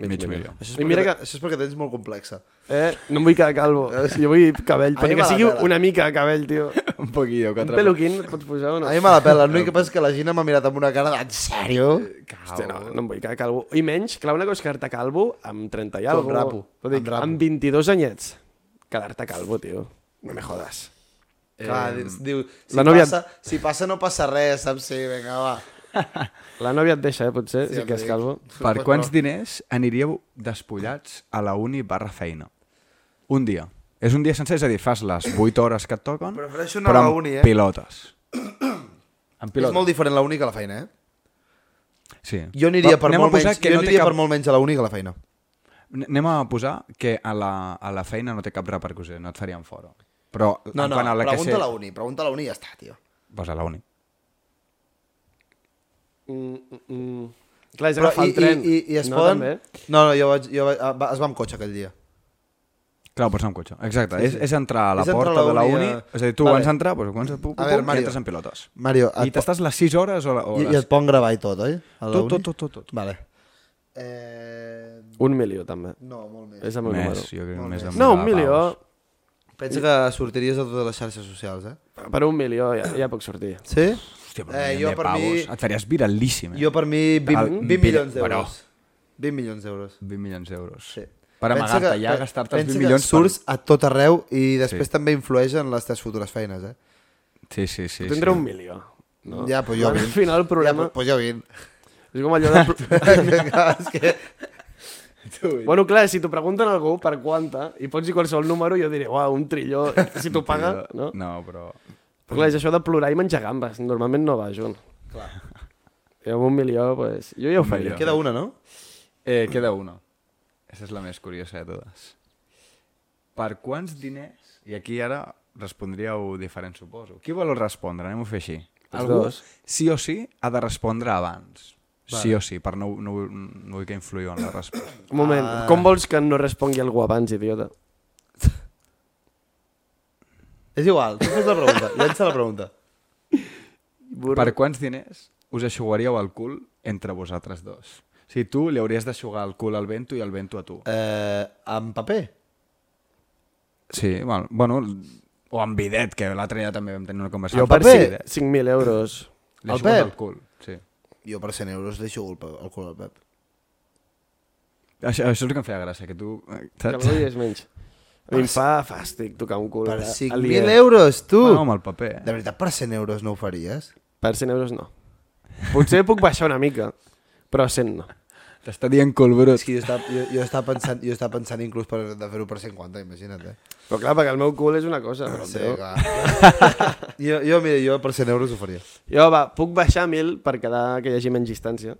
Mig, milió.
Això és,
I
perquè,
mira
mira
que,
que... això és perquè tens molt complexa.
eh, no em vull quedar calvo. Jo vull cabell,
A mi
perquè que
m'agrada.
sigui una mica de cabell, tio.
Un poquillo, que
Un peluquín et pots posar o no?
A mi me la pela, l'únic que passa és que la Gina m'ha mirat amb una cara de... En sèrio?
Eh,
Hòstia, no, no em vull quedar calvo. I menys, clar, una cosa és quedar-te calvo amb 30 i
Com
alguna
rapo,
Vull dir,
amb rapo.
amb 22 anyets, quedar-te calvo, tio. No me jodas.
Clar, dius, diu, si,
la
la
nòvia-
nòvia... passa, si passa no passa res, saps? Sí, vinga, va.
La nòvia et deixa, eh, potser,
Sí,
sí, si
em
que és
dic.
calvo.
Per quants diners aniríeu despullats a la uni barra feina? Un dia. És un dia sencer, és a dir, fas les 8 hores que et toquen,
Prefereixo anar
però
a la
amb
uni, eh?
pilotes. Amb
Pilota.
pilotes.
És molt diferent la uni que la feina, eh?
Sí.
Jo aniria,
Va,
per
anem a
molt,
posar
menys,
que
jo
no té
aniria
cap-
per molt menys a la uni que a la feina.
Anem a posar que a la, a la feina no té cap repercussió, no et farien fora. Però
No,
en
no,
quant a la que
pregunta
sé...
a la uni, pregunta a la uni i ja està, tio.
Pues a la uni.
Mm, mm, mm. Clar, és
Però
agafar
i,
el tren.
i, i, i es
no,
poden...
també?
No, no, jo vaig, jo vaig, ah, va, es va amb cotxe aquell dia.
Clar, pots anar amb cotxe. Exacte, sí, sí. És, és entrar a la
És entrar
porta de la uni...
a- eh.
És a dir, tu
Vale.
abans d'entrar, doncs, quan pum, pum,
A veure,
pum, i
Mario.
entres en pilotes.
Mario,
I
et, po-
t'estàs les 6 hores o, la, o
i, i
les...
et pon gravar i tot, oi? A la
Tot,
uni?
tot, tot, tot, tot.
Vale. Eh...
Un milió, també.
No, molt més.
És el meu
Més,
número.
jo crec, més de
No,
milió
un
de
milió.
paus.
Pensa que sortiries a totes les xarxes socials, eh?
Per un milió ja, ja puc sortir.
Sí?
Hòstia, però
Eh,
eh,
jo
jo
per mi-
Et faries viralíssim, eh?
Jo per mi 20,
Al-
20 milions
però-
d'euros. 20 milions d'euros.
20 milions d'euros.
Sí.
Per
Pensa
amagar-te
que-
ja,
pe-
gastar-te els 20
pensa que
milions...
surts a tot arreu i després
Sí.
també influeix en les teves futures feines, eh?
Per... Sí, sí, sí.
Tindré
sí.
un milió. No?
Ja, però jo
Al
vint.
final el problema...
Ja, pues jo 20.
És com allò de...
és que...
bueno, clar, si t'ho pregunten a algú per quanta, i pots dir qualsevol número, jo diré, uau, un trilló, si t'ho paga, no?
No, però...
Però clar, és això de plorar i menjar gambes. Normalment no va junt.
Clar.
I amb un milió, pues, jo ja ho
Un
faria.
milió.
Queda una, no?
Eh, queda una. Aquesta és la més curiosa de totes. Per quants diners... I aquí ara respondríeu diferent, suposo. Qui vol respondre? Anem-ho a fer així.
Els
Algú,
dos.
sí o sí, ha de respondre abans. Vale. Sí o sí, per no, no, no vull que influïu en la resposta.
Un moment,
Ah.
com vols que no respongui algú abans, idiota?
És igual, tu fes la pregunta, llença la pregunta.
Burro.
Per quants diners us aixugaríeu el cul entre vosaltres dos? O sigui, tu li hauries d'aixugar el cul al vento i el vento a tu.
Eh, amb paper?
Sí, bueno, bueno o amb bidet, que l'altre dia també vam tenir una conversació.
Jo
Amb
per
paper.
bidet.
5.000 euros.
Li
El
xugues
Pep.
El cul, sí.
Jo per 100 euros deixo el, pe- el cul al Pep.
Això, això és el que em feia gràcia, que tu... eh,
Que
Saps?
avui és menys. A mi em fa fàstic tocar un cul. eh,
Per
a- a
5.000
l'IE.
euros, tu!
Bueno, amb Ah, el paper.
De veritat, per 100 euros no ho faries?
Per 100 euros no. Potser puc baixar una mica, però 100 no.
T'està dient cul brut.
És que jo estava, jo, jo estava pensant, jo estava pensant inclús per, de fer-ho per 50, imagina't, eh?
Però clar, perquè el meu cul és una cosa. Però el
Ah, Sí,
teu-
clar. jo, jo, mira, jo per 100 euros ho faria.
Jo, va, puc baixar 1.000 per quedar que hi hagi menys distància.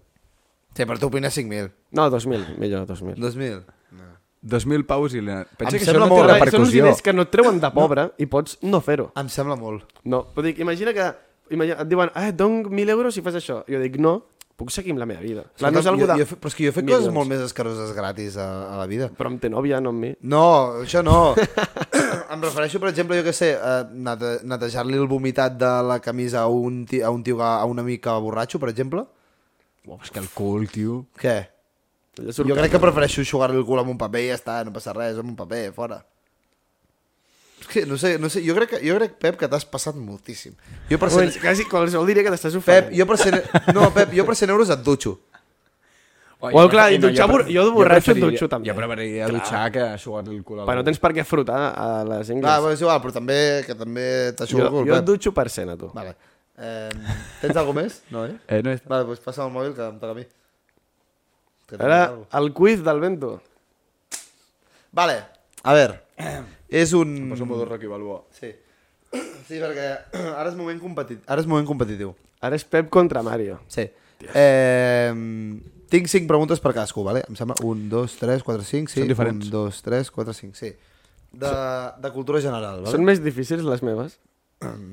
Sí, per tu opines 5.000.
No, 2.000, millor, 2.000.
2.000? No.
2.000 paus i... La... Pensa
Em
que això
sembla
no té
molt-
Són uns
repercussió.
diners que no et treuen de pobre i pots no fer-ho.
Em sembla molt.
No, però dic, imagina que imagina, et diuen, ah, et dono 1.000 euros si fas això. Jo dic, no, puc seguir amb la meva vida. Clar, no és
jo,
algú de...
jo, he fet- però és que jo he fet
milions.
coses molt més escaroses gratis a, a la vida.
Però amb té nòvia, no amb mi.
No, això no. em refereixo, per exemple, jo que sé, eh, nete netejar-li el vomitat de la camisa a un, ti- a un tio, que- a una mica borratxo, per exemple.
Uau, és que el cul, tio...
Què?
Allò surt
Jo crec que prefereixo jugar-li el cul amb un paper i ja està, no passa res, amb un paper, fora. És que no sé, no sé, jo crec, que, jo crec Pep, que t'has passat moltíssim. Jo per
Un moment,
100...
quasi qualsevol diria que t'estàs
Pep,
ofenent.
jo per 100... No, Pep, jo per 100 euros et dutxo.
Uai,
Bueno, clar, i dutxar
pre-
bor- jo de borratxo
preferiria-
dutxo també.
Jo preferiria dutxar que aixugar-li el cul al...
Però no tens per què frotar a les
Clar,
ingles.
però és igual, però també, que també t'aixugo
jo,
el cul,
jo et
Pep.
dutxo per cent a tu.
Vale. Eh, tens alguna més? No, eh?
Eh, no és...
Vale, doncs passa'm el mòbil que em toca a mi.
Ara,
Que tinc alguna cosa.
el quiz del vento.
Vale, a veure. És un...
Posa un motor Rocky Balboa.
Sí. Sí, perquè ara és moment competit... Ara és moment competitiu.
Ara és Pep contra Mario.
Sí. Eh, tinc 5 preguntes per cadascú, vale? Em sembla 1, 2, 3, 4, 5, sí.
Són diferents.
1, 2, 3, 4, 5, sí. De, de cultura general, vale?
Són més difícils les meves?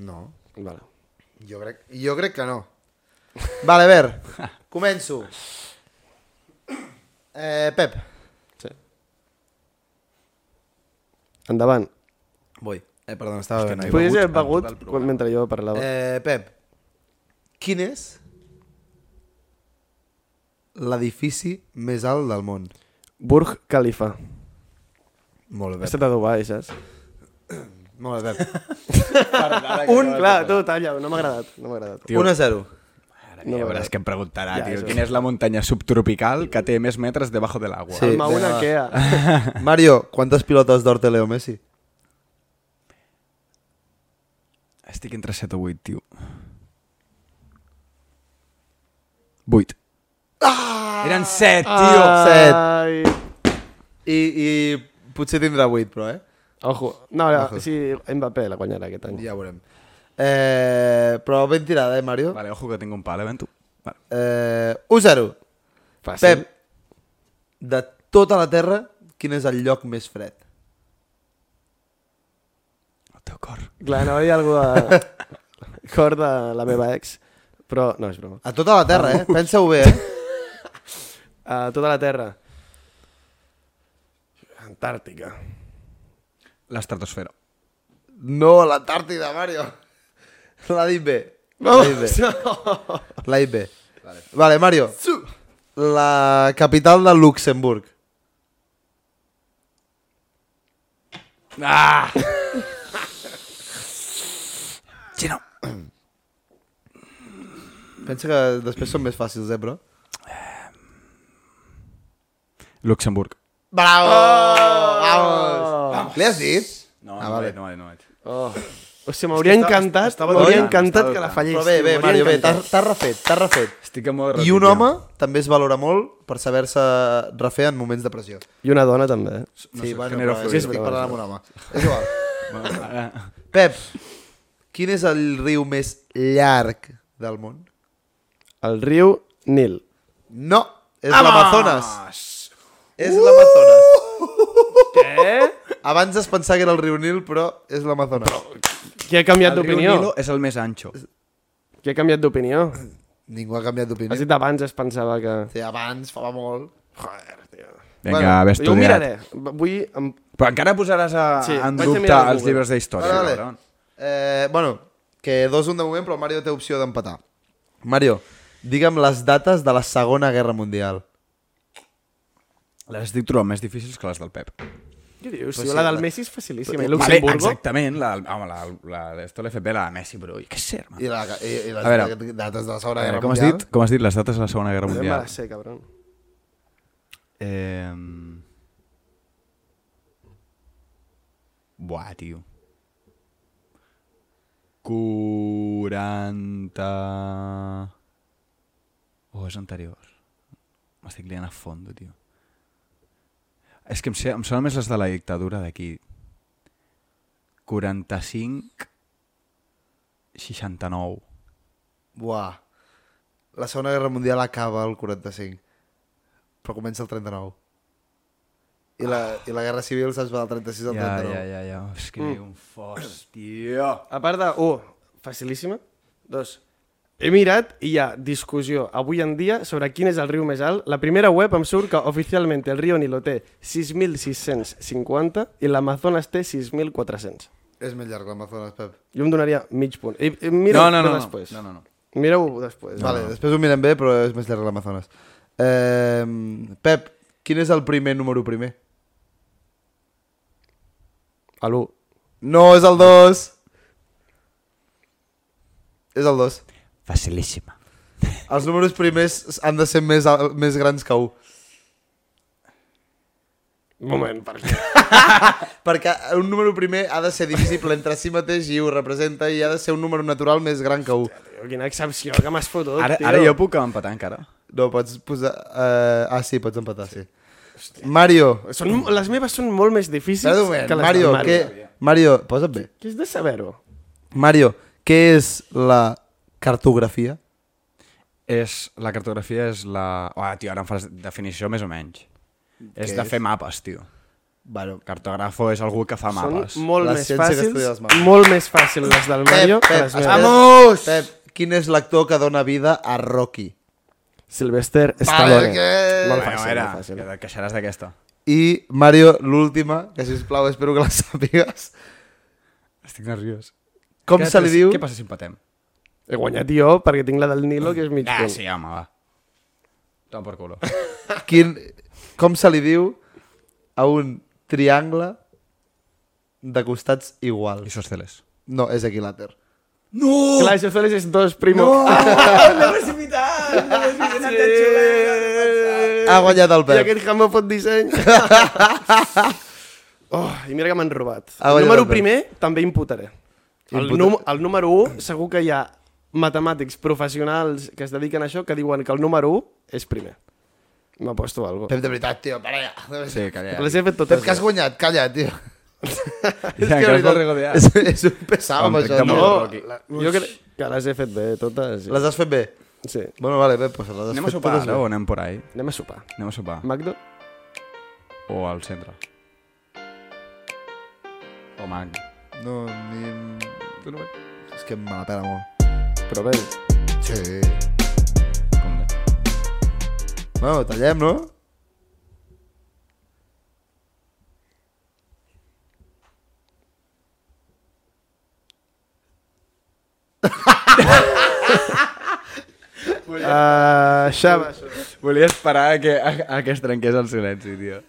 No,
Vale.
jo crec, jo crec que no. Vale, a veure, començo. Eh, Pep.
Sí. Endavant.
Voy. Eh, perdona, estava
que
ben
no He
Podries
begut
haver
en
begut
tot el
quan,
programa.
mentre jo parlava. Eh.
Eh, Pep, quin és l'edifici més alt del món?
Burj Khalifa. He
Molt bé, Pep.
estat a Dubai, saps?
Molt bé, Pep.
Un, clar, tu, talla, no m'ha agradat. No m'ha agradat.
Tio.
1 a 0.
Ara,
No,
no,
no,
veuràs
no.
que em preguntarà,
Ja,
tio.
això
Quina és la muntanya subtropical que té més metres debajo de l'aigua?
Sí.
El Mauna
vinga, va.
Kea.
Mario, quantes pilotes d'or té Leo Messi?
Estic entre 7 o 8, tio. 8. Ah! Eren 7, tio! Ah!
set.
Ai.
I, i potser tindrà 8, però, eh?
Ojo. No, no, sí, Mbappé la guanyarà aquest any.
Ja ho veurem. Eh, però ben tirada, eh, Mario?
Vale, ojo que tinc un pal, eh, Ventu? Vale.
Eh, 1 a 0.
Fàcil.
Pep, de tota la Terra, quin és el lloc més fred?
El teu cor.
Clar, no hi ha algú de... Cor de la meva ex, però no, és broma.
A tota la Terra, eh? Pensa-ho bé, eh?
A tota la Terra. Antàrtica.
L'estratosfera.
No, l'Antàrtida, Mario. L'ha dit bé. L'ha dit bé. L'ha dit bé. Vale. vale, Mario. La capital de Luxemburg.
Ah! Gino.
Pensa que després són més fàcils, eh, però?
Luxemburg.
Bravo! Oh! Vamos! Vamos! Li has dit?
No,
Ah,
no,
vale.
vale. no, vale, no, vale.
Oh. O sigui, m'hauria encantat, m'hauria
dubtant,
encantat
estava
que la
dubtant.
fallés.
Però bé,
tio,
bé,
m'hauria
Mario, bé,
encantat.
t'has t'has refet, t'has refet.
Estic en mode
I un home també es valora molt per saber-se refer en moments de pressió.
I una dona també. eh?
No sé, genera
però
fluïdesa.
és
Sí,
que estic
però-
parlant amb un home. És igual.
Ara,
Pep, quin és el riu més llarg del món?
El riu Nil.
No, és l'Amazones. És l'Amazones.
Què?
Abans es pensava que era el riu Nil, però és l'Amazones.
Qui ha canviat
El riu
d'opinió?
Nilo és el més ancho.
Qui ha canviat d'opinió?
Ningú ha canviat d'opinió.
Has dit abans es pensava que...
Sí, abans, fa molt.
Joder, tio.
Vinga,
Bueno,
bueno, haver
Jo ho
estudiat.
miraré. Vull... Em...
Però encara posaràs a,
Sí,
sí, en
vaig a
dubte
mirar a
els
Google.
llibres d'història.
Vale,
cabron.
vale. Eh, bueno, que dos un de moment, però el Mario té opció d'empatar. Mario, digue'm les dates de la Segona Guerra Mundial.
Les estic trobant més difícils que les del Pep.
Què dius? Si la del Messi és facilíssima. I
Vale,
Luxemburgo?
exactament. La, home, la, la, esto l'FP, la de Messi, bro. I què sé, hermano?
I, la, i, i les
A veure.
dates de la Segona
Eh,
Guerra
com, has
Mundial.
dit, com has dit les dates de la Segona Guerra
No me la
Mundial?
sé, cabrón.
Eh... Buah, tio. 40... O oh, és anterior. M'estic liant a fondo, tio. És que em, sé, em sona més les de la dictadura d'aquí. 45... 69.
Buah. La Segona Guerra Mundial acaba el 45, però comença el 39. I la, i la Guerra Civil se'ns va del 36 al
Ja,
39.
ja, ja, ja. És que mm. un fos, tio.
A part de... 1. Facilíssima. 2. He mirat i hi ha discussió avui en dia sobre quin és el riu més alt. La primera web em surt que oficialment el riu Nilo té 6.650 i l'Amazones té 6.400.
És més llarg l'Amazones, Pep.
Jo em donaria mig punt. I, i mira
no, no, no, no.
després.
No, no, no.
Mira-ho després.
Vale, després ho mirem bé, però és més llarg l'Amazones. Eh, Pep, quin és el primer número primer?
A l'1.
No, és el 2! És el 2.
Facilíssima.
Els números primers han de ser més, al- més grans que 1.
Un moment, per què?
Perquè un número primer ha de ser divisible entre si mateix i ho representa i ha de ser un número natural més gran que 1.
Tio, Quina excepció que m'has fotut,
Ara,
tio.
ara jo puc empatar encara.
No, pots posar... Eh, ah, sí, pots empatar, sí. sí. Mario,
Són, les meves són molt més difícils
espera un moment.
que les
Mario,
del Mario.
què... Mario, posa't bé.
Què és de saber-ho?
Mario, què és la cartografia?
És, la cartografia és la... Uah, tio, ara em fas definició més o menys. És de
és?
fer mapes, tio.
Bueno,
Cartògrafo és algú que fa
Són
mapes.
molt
La
més
ciència que estudia els
fàcils,
mapes.
molt més fàcil les del Mario que les meves.
Vamos! Pep, quin és l'actor que dona vida a Rocky?
Sylvester Stallone.
que-
Molt
Bueno,
fàcil,
era,
molt fàcil.
que et queixaràs d'aquesta.
I Mario, l'última, que sisplau, espero que la sàpigues.
Estic nerviós.
Com se li diu?
Què passa si empatem?
He guanyat jo perquè tinc la del Nilo, que és mig
Ah,
punt.
sí, home, va. Toma per culo.
Quin, com se li diu a un triangle de costats iguals?
Isòsceles.
No, és equilàter.
No!
Clar, això sols és dos, primo. No! Ah, L'he precipitat! L'he precipitat!
Ha guanyat el
I
Pep.
aquest jamó fot disseny. oh, I mira que m'han robat.
Ah,
el
vaja,
número
també.
primer també imputaré. El,
Imputa-
num el número 1, segur que hi ha matemàtics professionals que es dediquen a això que diuen que el número 1 és primer. M'aposto a alguna cosa.
Pep, de veritat, tio, para ja.
Sí, calla.
Les he fet
Pep,
totes.
que has guanyat, calla, tio.
que
de
has
veritat,
borregodeat.
és, és un pesau, amb
Em
això.
toca
tio.
No,
molt, Rocky.
la, jo crec que les he fet bé, totes. Sí.
Les has fet bé?
sí.
Bueno, vale, Pep, pues les has
Anem a
fet
sopar
totes
ara
bé.
o anem por ahí?
Anem a sopar.
Anem a sopar.
Magdo?
O al centre. O mag.
No, ni...
Tu no veig?
És que me la pela molt.
Però bé,
Sí.
Com de?
Bueno, tallem, no?
uh, Xava,
Volia esperar a que, a, a que es trenqués el silenci, tio.